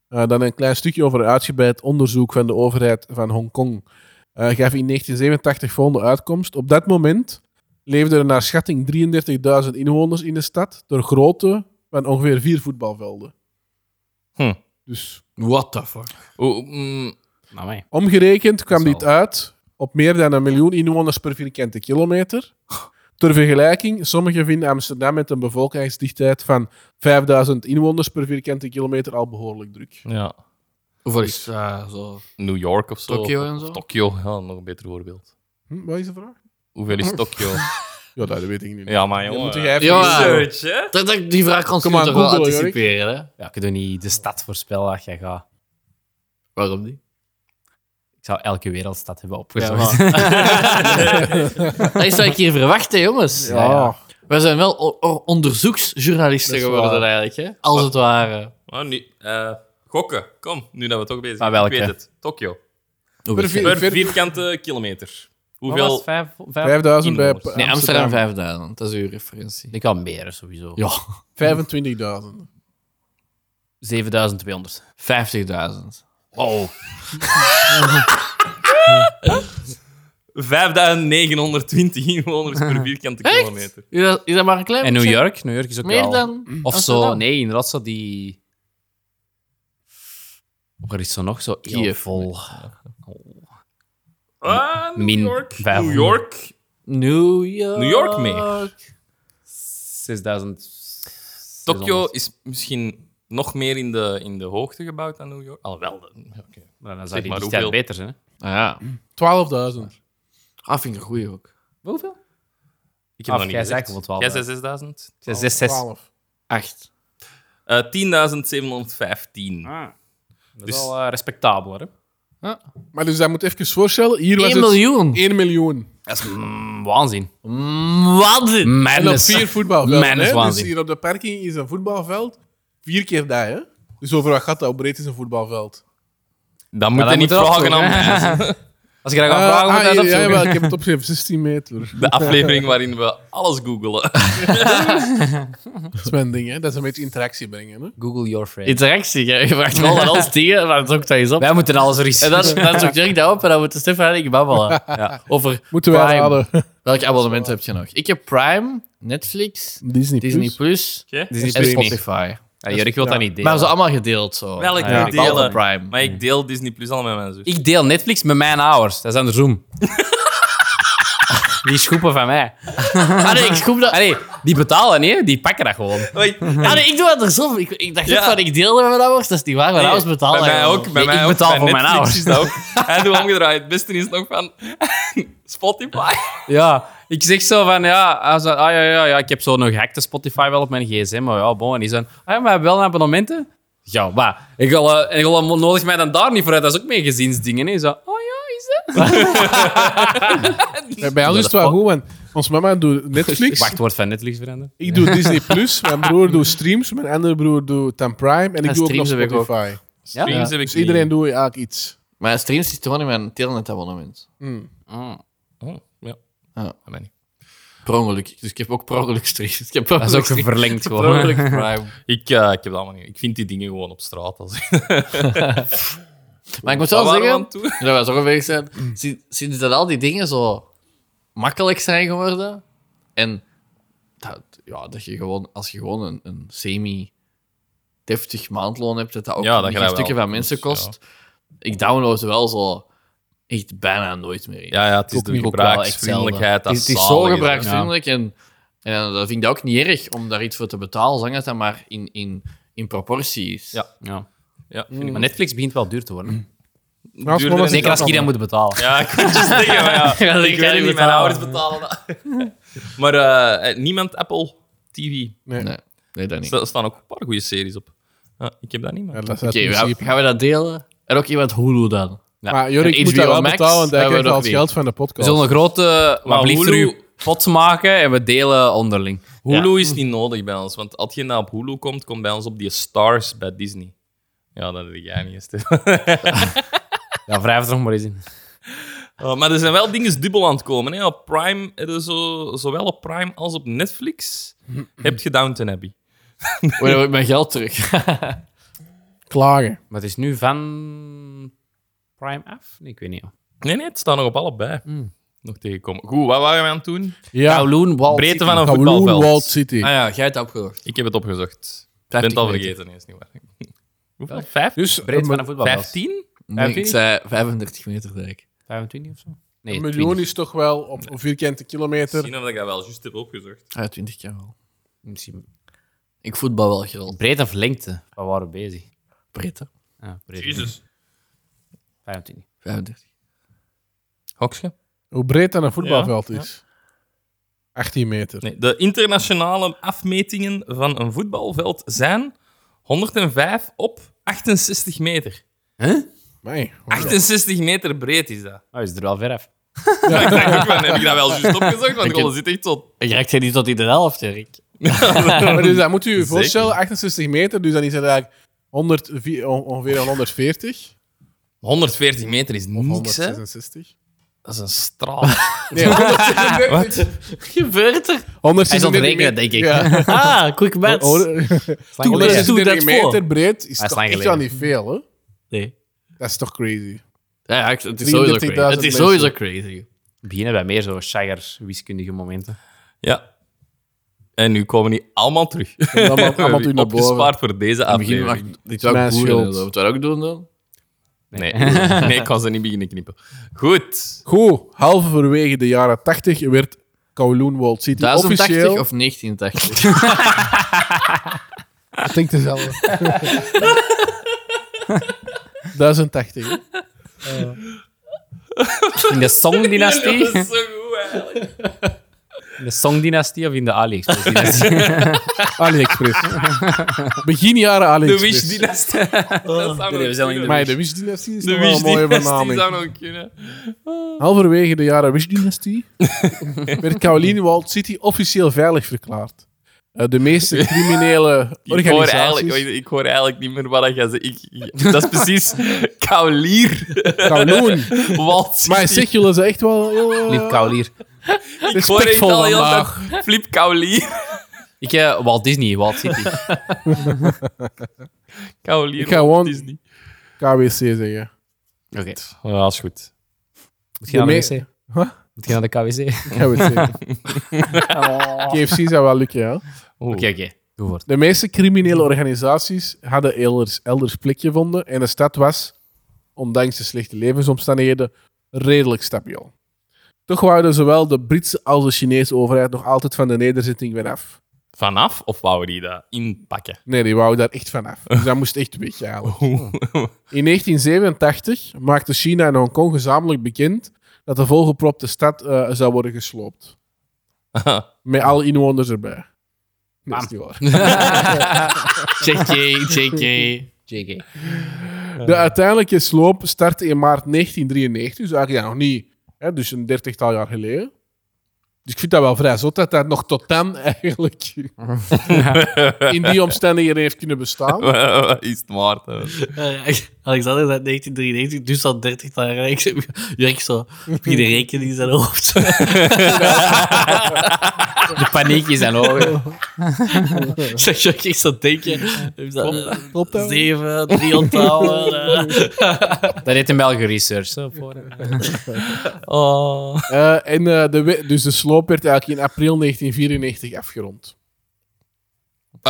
Speaker 3: Eh, dan een klein stukje over een uitgebreid onderzoek van de overheid van Hongkong. eh gaf in 1987 volgende uitkomst. Op dat moment leefden er naar schatting 33.000 inwoners in de stad door grootte van ongeveer vier voetbalvelden.
Speaker 1: Hm.
Speaker 3: Dus
Speaker 2: What the fuck?
Speaker 1: Oeh, mm,
Speaker 4: Nou, mij.
Speaker 3: Omgerekend kwam
Speaker 4: Dat is
Speaker 3: dit uit op meer dan een miljoen inwoners per vierkante kilometer. Ter vergelijking, sommigen vinden Amsterdam met een bevolkingsdichtheid van 5000 inwoners per vierkante kilometer al behoorlijk druk.
Speaker 1: ja.
Speaker 2: Hoeveel is eh, zo?
Speaker 1: New York of zo.
Speaker 2: Tokio en zo?
Speaker 1: Tokio, ja, nog een beter voorbeeld.
Speaker 3: Hm, wat is de vraag?
Speaker 1: Hoeveel is Tokio?
Speaker 3: Ja, dat weet ik niet.
Speaker 1: ja, maar
Speaker 3: dat
Speaker 1: jongen.
Speaker 3: moet jij even
Speaker 2: Ja.
Speaker 3: doen.
Speaker 2: Search, Dat, dat, die vraag kon je
Speaker 3: Kom maar,
Speaker 2: toch wel
Speaker 3: Google, Jorik.
Speaker 2: anticiperen, hè?
Speaker 4: Ja, ik doe niet de stad voorspellen dat je gaat.
Speaker 2: Waarom niet?
Speaker 4: Ik zou elke wereldstad hebben
Speaker 2: Ja,
Speaker 4: opgezocht.
Speaker 2: maar- dat is wat ik hier verwachtte, jongens.
Speaker 3: Ja, ja.
Speaker 2: We zijn wel o- o- onderzoeksjournalisten
Speaker 3: Dat is
Speaker 2: geworden,
Speaker 3: waar.
Speaker 2: eigenlijk, hè? Als het ware.
Speaker 1: Ah, nu, eh, gokken, kom, nu dat we toch bezig zijn.
Speaker 4: Maar welke?
Speaker 1: Ik weet het. Tokio.
Speaker 3: Per vier-
Speaker 1: Per
Speaker 3: vier-
Speaker 1: vierkante kilometer.
Speaker 4: Hoeveel?
Speaker 1: Hoeveel?
Speaker 3: 5000 bij
Speaker 1: inwoners.
Speaker 2: Nee, Amsterdam
Speaker 3: Amsterdam.
Speaker 2: 5000, dat is uw referentie.
Speaker 4: Ik kan meer sowieso.
Speaker 2: Ja,
Speaker 3: 25.000.
Speaker 4: 7200.
Speaker 2: 50.000.
Speaker 4: Oh.
Speaker 1: 5920 inwoners per vierkante kilometer.
Speaker 2: Is dat, is dat maar een klein
Speaker 4: En New
Speaker 2: beetje?
Speaker 4: York? New York is ook
Speaker 2: Meer
Speaker 4: wel- Mm.
Speaker 2: dan
Speaker 4: Of zo,
Speaker 2: Amsterdam?
Speaker 4: nee, inderdaad, zo die. Waar is zo nog zo? heel
Speaker 2: Kiev.
Speaker 4: vol.
Speaker 1: Ah, New
Speaker 4: Min
Speaker 1: York. New
Speaker 4: 500.
Speaker 1: York.
Speaker 2: New York.
Speaker 1: New York mee.
Speaker 4: 6000.
Speaker 1: Tokio is misschien nog meer in de, in de hoogte gebouwd dan New York. Alhoewel, dat- ja, oké.
Speaker 4: Nou, Dan
Speaker 1: Zeg
Speaker 4: zou die
Speaker 1: maar,
Speaker 4: die
Speaker 1: hoeveel?
Speaker 4: tijd beter zijn. hè?
Speaker 2: Ah, ja.
Speaker 3: 12.000.
Speaker 2: Ah, vind ik een goeie ook.
Speaker 4: Hoeveel?
Speaker 1: ik heb
Speaker 4: Af,
Speaker 1: nog niet
Speaker 4: jij zei
Speaker 1: gezegd.
Speaker 4: ook wel eh. twaalf,
Speaker 1: Jij
Speaker 4: hè?
Speaker 1: zei 6000?
Speaker 4: 6, 6.
Speaker 3: 12.
Speaker 2: Acht.
Speaker 1: Eh, 10.715.
Speaker 4: Dat is
Speaker 1: Dus-
Speaker 4: wel eh, respectabeler. Hè?
Speaker 3: Maar dus dat moet even voorstellen. Hier was
Speaker 2: 1
Speaker 3: het
Speaker 2: miljoen.
Speaker 3: 1 miljoen.
Speaker 4: Dat is mm, waanzin.
Speaker 2: Wat?
Speaker 3: En op
Speaker 4: Madness.
Speaker 3: vier voetbalvelden.
Speaker 4: Mijn is
Speaker 3: hè. Dus
Speaker 4: waanzin.
Speaker 3: hier op de parking is een voetbalveld. Vier keer dat, hè? Dus over wat gaat dat? Hoe breed is een voetbalveld?
Speaker 1: Dat moet je
Speaker 4: Maar dat
Speaker 1: niet
Speaker 4: moet eraf
Speaker 1: vragen aan
Speaker 4: toch, hè?
Speaker 1: mensen.
Speaker 4: Als je dat gaat
Speaker 3: Eh,
Speaker 4: vragen, moet
Speaker 3: ah,
Speaker 4: je dat
Speaker 3: ja,
Speaker 4: opzoeken.
Speaker 3: jawel, ik heb het opgegeven, 16 meter.
Speaker 1: De aflevering waarin we alles googelen.
Speaker 3: Dat is mijn ding, hè. Dat is een beetje interactie brengen, hè.
Speaker 4: Google your friend.
Speaker 2: Interactie. Je je vraagt wel aan ons dingen, maar het zoekt dat eens op.
Speaker 4: Wij moeten alles researchen.
Speaker 2: En dan, dan zoekt Jurk dat op en dan moeten Stefan en ik babbelen. Over
Speaker 3: Moeten we
Speaker 2: Prime.
Speaker 3: herhalen.
Speaker 2: welk abonnement heb je nog. Ik heb Prime, Netflix,
Speaker 3: Disney
Speaker 2: Disney Plus
Speaker 1: Oké?
Speaker 2: en
Speaker 4: Disney Plus niet.
Speaker 2: Spotify.
Speaker 4: Ja, Jurk wil dat niet delen.
Speaker 2: Maar ze allemaal gedeeld zo.
Speaker 1: Welk
Speaker 2: Ja,
Speaker 1: niet delen?
Speaker 2: behalve Prime.
Speaker 1: Maar ik deel Disney Plus al met mijn zus.
Speaker 4: Ik deel Netflix met mijn ouders. Dat is andersom. die schoepen van mij.
Speaker 2: Ah, nee, ik schroef dat.
Speaker 4: Ah, nee, die betalen niet, hè. die pakken dat gewoon.
Speaker 1: Wait,
Speaker 2: Ah, nee, ik doe dat er zo. Ik, ik dacht
Speaker 1: Ja.
Speaker 2: ook van ik deelde met mijn ouders. Dat is niet waar. Mijn ouders betalen.
Speaker 1: Bij mij
Speaker 2: gewoon.
Speaker 1: ook. Bij
Speaker 4: Nee,
Speaker 1: mij
Speaker 4: ik
Speaker 1: ook.
Speaker 4: betaal
Speaker 1: Bij
Speaker 4: voor mijn
Speaker 1: Netflix
Speaker 4: ouders.
Speaker 1: is dat ook. Hij doet omgedraaid. Het beste is nog van Spotify.
Speaker 4: Ja, ik zeg zo van ja, als, ah, ja, ja, ja ik heb zo'n gehackte Spotify wel op mijn gsm, maar ja, bon. En die zijn, ah, ja, maar we hebben wel abonnementen. Ja, maar ik wil, eh, ik wil nodig mij dan daar niet voor uit. Dat is ook mijn gezinsdingen. hè. Zo, oh ja, is dat?
Speaker 3: Ja, Eh, bij ons is het wel goed, want ons mama doet Netflix,
Speaker 4: Wachtwoord van Netflix veranderen.
Speaker 3: ik doe Disney+, Plus, mijn broer doet streams, mijn andere broer doet dan Prime en ik doe
Speaker 2: En
Speaker 3: ook nog
Speaker 2: streams heb ik ook.
Speaker 3: Spotify.
Speaker 1: Streams heb ik
Speaker 3: Dus iedereen
Speaker 1: niet.
Speaker 3: doet eigenlijk iets.
Speaker 2: Mijn streams zit gewoon in mijn telnet-abonnement.
Speaker 1: Oh, ja. Ah,
Speaker 2: Ja.
Speaker 1: Dat ben ik.
Speaker 2: Per ongeluk. Dus ik heb ook per ongeluk streams. Ik heb per
Speaker 4: Dat is ook
Speaker 2: ongeluk
Speaker 4: verlengd
Speaker 2: streams. Per
Speaker 4: gewoon.
Speaker 2: ongeluk Prime.
Speaker 1: Ik, eh, ik heb dat allemaal niet. Ik vind die dingen gewoon op straat. Als... ik
Speaker 2: Maar ik moet
Speaker 1: Waar waren
Speaker 2: wel
Speaker 1: we
Speaker 2: zeggen,
Speaker 1: aan toe?
Speaker 2: dat wij zo bezig zijn, sin- sinds dat al die dingen zo makkelijk zijn geworden en dat, ja, dat je gewoon, als je gewoon een, een semi-deftig maandloon hebt, dat dat ook
Speaker 1: Ja, dat je
Speaker 2: niet
Speaker 1: dat
Speaker 2: een stukje
Speaker 1: wel
Speaker 2: van mensen
Speaker 1: doet, ja.
Speaker 2: kost. Ik download wel zo echt bijna nooit meer. in.
Speaker 1: Ja, ja, het is
Speaker 2: Ook
Speaker 1: de
Speaker 2: niet, ook wel echt
Speaker 1: gebruiksvriendelijkheid.
Speaker 2: zelden.
Speaker 1: dat
Speaker 2: Het is, het is zo
Speaker 1: zalig
Speaker 2: gebruiksvriendelijk en, en eh, dat vind ik dat ook niet erg om daar iets voor te betalen, zolang dat dat maar in, in, in proportie is.
Speaker 1: Ja.
Speaker 4: Ja.
Speaker 1: Ja, vind ik.
Speaker 4: Maar Netflix begint wel duur te worden.
Speaker 3: Mm. Maar als
Speaker 1: Duurder
Speaker 3: mama
Speaker 1: is
Speaker 3: zegt
Speaker 4: Zeker als
Speaker 3: dat
Speaker 4: je iedereen
Speaker 3: dan.
Speaker 4: moet betalen.
Speaker 1: Ja, ik wil het zeggen, maar ja.
Speaker 2: Ja, dat
Speaker 1: ik
Speaker 2: kan
Speaker 1: wil niet
Speaker 2: je
Speaker 1: mijn
Speaker 2: betalen.
Speaker 1: ouders betalen. dat. maar eh, eh, niemand Apple TV.
Speaker 2: Nee, nee, dat niet.
Speaker 1: Er staan ook een paar goede series op. Ja, ik heb dat niet,
Speaker 3: Ja,
Speaker 1: maar...
Speaker 3: dat is uit
Speaker 2: Oké, we-
Speaker 3: principe.
Speaker 2: gaan we dat delen? En ook iemand Hulu dan.
Speaker 3: Maar Jorik
Speaker 2: En
Speaker 3: moet dat
Speaker 2: HBO
Speaker 3: wel
Speaker 2: Max
Speaker 3: betalen, want hij
Speaker 2: hebben we
Speaker 3: krijgt al
Speaker 2: nog
Speaker 3: het
Speaker 2: niet.
Speaker 3: geld van de
Speaker 4: We
Speaker 3: podcast.
Speaker 4: zullen een grote,
Speaker 1: Maar
Speaker 4: maar blieft
Speaker 1: Hulu-
Speaker 4: u pot maken en we delen onderling.
Speaker 1: Hulu is niet nodig bij ons, want als je nou op Hulu komt, komt bij ons op die stars bij Disney. Ja, dat heb jij niet eens. Stef.
Speaker 4: Ja, wrijf het er nog maar eens in.
Speaker 1: Oh, maar er zijn wel dingen dubbel aan het komen. Hè. Op Prime, heb je zo, zowel op Prime als op Netflix, heb je Downton Abbey.
Speaker 2: Wanneer heb ik mijn geld terug?
Speaker 3: Klagen.
Speaker 4: Maar het is nu van Prime af? Nee, ik weet niet. joh.
Speaker 1: Nee, nee, het staat nog op allebei. Nog tegenkomen. Goed, wat waren we aan het doen?
Speaker 3: Ja,
Speaker 2: Kowloon, Wall
Speaker 1: Breedte
Speaker 2: City.
Speaker 1: van een
Speaker 3: Kowloon,
Speaker 1: voetbalveld.
Speaker 3: Walled City.
Speaker 2: Nou, Ah ja, jij hebt het opgezocht.
Speaker 1: Ik heb het opgezocht. Ik ben het
Speaker 2: 50
Speaker 1: al
Speaker 2: meter.
Speaker 1: vergeten, nee, is niet waar. Hoeveel? Vijf?
Speaker 3: Dus
Speaker 4: Breed van
Speaker 3: een,
Speaker 4: een voetbal.
Speaker 1: 15?
Speaker 2: Nee, ik
Speaker 4: 25?
Speaker 2: zei 35 meter, denk ik.
Speaker 4: 25 of zo? Nee,
Speaker 3: een miljoen
Speaker 4: 20.
Speaker 3: is toch wel op een vierkante kilometer.
Speaker 1: Misschien of ik dat wel juist heb opgezocht.
Speaker 2: Ah, ja, 20 jaar wel.
Speaker 4: Misschien
Speaker 2: Ik voetbal wel gerold.
Speaker 4: breed of lengte? Waar waren we bezig?
Speaker 2: Breed, hè?
Speaker 4: Ja, breed.
Speaker 1: Jezus.
Speaker 4: 25.
Speaker 2: 35.
Speaker 1: Hoksje?
Speaker 3: Hoe breed dan een voetbalveld is. 18 meter.
Speaker 1: Nee, de internationale afmetingen van een voetbalveld zijn 105 op 68 meter.
Speaker 3: Nee.
Speaker 1: 68 meter breed is dat.
Speaker 4: Oh, is er wel ver af.
Speaker 1: Ja. ik dacht ook, van, heb ik dat wel juist opgezocht? Want
Speaker 2: heb-
Speaker 1: Rolle zit echt tot...
Speaker 2: Je raakt jij niet tot in de helft, Erik.
Speaker 3: Maar dus dat moet u je
Speaker 1: Zeker.
Speaker 3: voorstellen, 68 meter, dus dan is het eigenlijk 100, vi- on- ongeveer 140.
Speaker 1: 140 meter is
Speaker 3: Of
Speaker 1: niks, hè?
Speaker 3: 166.
Speaker 1: Dat is een straal.
Speaker 3: Nee, 136.
Speaker 2: Gebeurt er?
Speaker 3: 136
Speaker 2: Hij zal het rekenen,
Speaker 3: meter.
Speaker 2: denk ik.
Speaker 3: Ja.
Speaker 2: Ah, quick bets. Doe dat, doe
Speaker 3: 136
Speaker 2: dat
Speaker 3: meter
Speaker 2: voor.
Speaker 3: breed is
Speaker 4: Hij is
Speaker 3: toch
Speaker 4: lang
Speaker 3: echt wel
Speaker 4: geleden.
Speaker 3: niet veel, hè?
Speaker 2: Nee.
Speaker 3: Dat is toch crazy?
Speaker 2: Ja, ja, ik- het is sowieso crazy.
Speaker 3: 33.000
Speaker 2: Het is
Speaker 3: mensen.
Speaker 2: sowieso crazy.
Speaker 4: beginnen bij meer zo shagger wiskundige momenten.
Speaker 1: Ja. En nu komen die allemaal terug.
Speaker 3: Allemaal,
Speaker 1: We hebben
Speaker 3: allemaal
Speaker 1: die
Speaker 3: toen naar boven.
Speaker 1: opgespaard voor deze
Speaker 2: In het begin mag
Speaker 1: aflevering.
Speaker 2: dit wel
Speaker 3: Mijn
Speaker 2: goed doen.
Speaker 3: schuld.
Speaker 2: Moeten we dat ook doen dan?
Speaker 1: Nee. nee, ik kan ze niet beginnen knippen. Goed.
Speaker 3: Goed, halverwege de jaren 80 werd Kowloon World City
Speaker 2: 1080
Speaker 3: officieel...
Speaker 2: of 1980?
Speaker 3: Ik denk dezelfde. 1080. hè?
Speaker 4: In de
Speaker 1: Dat
Speaker 4: Song-dynastie?
Speaker 1: is zo goed, eigenlijk.
Speaker 4: In de Song-dynastie of in de AliExpress-dynastie?
Speaker 3: AliExpress. Begin jaren
Speaker 1: De
Speaker 3: AliExpress.
Speaker 1: Wish-dynastie. Dus-
Speaker 2: Oh,
Speaker 1: Dat zou
Speaker 4: nee, we
Speaker 1: nog
Speaker 4: zijn al in
Speaker 1: kunnen.
Speaker 3: Maar de Wish-dynastie is
Speaker 1: De
Speaker 3: nog wel een mooie
Speaker 1: Wish-dynastie
Speaker 3: benaming.
Speaker 1: zou nog kunnen.
Speaker 3: Halverwege de jaren Wish-dynastie werd Kowloon Walled City officieel veilig verklaard. Eh, de meeste criminele
Speaker 1: Ik hoor,
Speaker 3: organisaties...
Speaker 1: eigenlijk, ik hoor eigenlijk niet meer wat jij zegt. Ik, ik- dat is precies Kaulier.
Speaker 3: Kowloon.
Speaker 1: Wat?
Speaker 3: Maar zeg, jullie zijn echt wel heel... eh,
Speaker 4: Niet Kaulier.
Speaker 1: ik hoor echt
Speaker 3: respectvol
Speaker 1: al heel de
Speaker 3: vandaag.
Speaker 1: tijd Flip Kaulier.
Speaker 4: Ik, eh, Walt Disney, Walt City.
Speaker 1: Kaulier.
Speaker 3: Ik ga gewoon-
Speaker 1: Disney.
Speaker 3: KWC zeggen.
Speaker 4: Oké.
Speaker 1: Ja, dat is goed.
Speaker 4: Moet je naar
Speaker 3: Nee.
Speaker 4: de wc?
Speaker 3: Huh?
Speaker 4: Moet je naar de KWC?
Speaker 3: KWC. KFC zou wel lukken, ja.
Speaker 1: Oeh.
Speaker 4: Oké, oké. Doe voort.
Speaker 3: De meeste criminele organisaties hadden elders, elders plek gevonden en de stad was, ondanks de slechte levensomstandigheden, redelijk stabiel. Toch wouden zowel de Britse als de Chinese overheid nog altijd van de nederzetting weer af.
Speaker 1: Vanaf of wouden die dat inpakken?
Speaker 3: Nee, die wouden daar echt van af. Dus dat moest echt weg, eigenlijk. In 1987 maakte China en Hongkong gezamenlijk bekend dat de volgepropte stad eh, zou worden gesloopt. Met alle inwoners erbij. Nee, is niet waar.
Speaker 2: JK, JK.
Speaker 4: JK.
Speaker 3: De uiteindelijke sloop startte in maart 1993, dus eigenlijk ja, nog niet, hè, dus een dertigtal jaar geleden. Dus ik vind dat wel vrij zot dat dat nog tot dan eigenlijk in die omstandigheden heeft kunnen bestaan.
Speaker 1: is het waard? hè?
Speaker 2: Eh, Alexander zei 1993, dus al 30 jaar. Ik zeg, Jurk zo, heb je de rekening in zijn hoofd?
Speaker 4: De paniek is aan ogen.
Speaker 2: Ik zeg, Jurk, ik zat denken. eh,
Speaker 3: Klopt dat?
Speaker 2: 7, 3 onthouden. eh.
Speaker 4: Dat heeft hem wel geresearched. Zo, voor.
Speaker 1: Oh.
Speaker 3: Eh, en eh, de, we- dus de sloop werd eigenlijk in april 1994 afgerond.